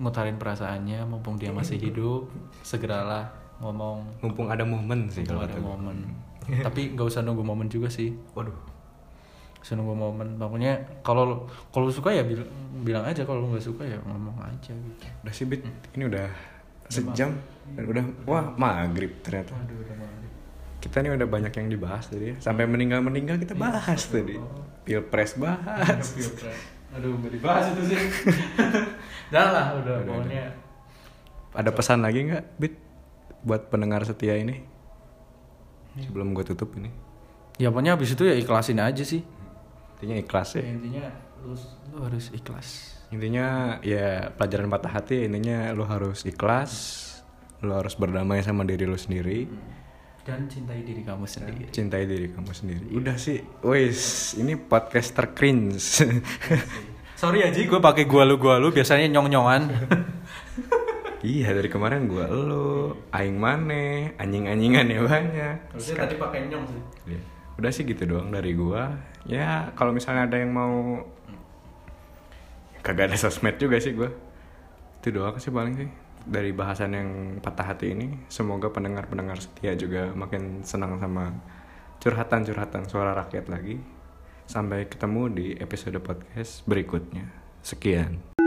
ngutarin perasaannya mumpung dia masih hidup segeralah ngomong mumpung ada momen sih kalau kalau gitu. kata ada gua. momen tapi nggak usah nunggu momen juga sih waduh Nggak usah nunggu momen makanya kalau kalau suka ya bil- bilang aja kalau nggak suka ya ngomong aja gitu udah sih Bit. ini udah sejam dan udah wah maghrib ternyata aduh udah malu. kita nih udah banyak yang dibahas tadi ya. sampai meninggal meninggal kita bahas tadi pilpres bahas Aduh, nggak dibahas itu sih. Dah lah, udah, pokoknya. ada pesan lagi nggak bit buat pendengar setia ini sebelum gue tutup ini Ya pokoknya habis itu ya ikhlasin aja sih. intinya ikhlas ya intinya lu, lu harus ikhlas. intinya ya pelajaran patah hati intinya lo harus ikhlas lo harus berdamai sama diri lo sendiri Dan cintai diri kamu sendiri. cintai diri kamu sendiri udah sih wis ini podcast tercringe Sorry ya, aja, gue pakai gua lu gua lu biasanya nyong nyongan. iya dari kemarin gue lo aing maneh anjing anjingan ya banyak Harusnya tadi pakai nyong sih. Iya. Udah sih gitu doang dari gua. Ya kalau misalnya ada yang mau kagak ada sosmed juga sih gua. Itu doang sih paling sih dari bahasan yang patah hati ini. Semoga pendengar-pendengar setia juga makin senang sama curhatan-curhatan suara rakyat lagi. Sampai ketemu di episode podcast berikutnya. Sekian.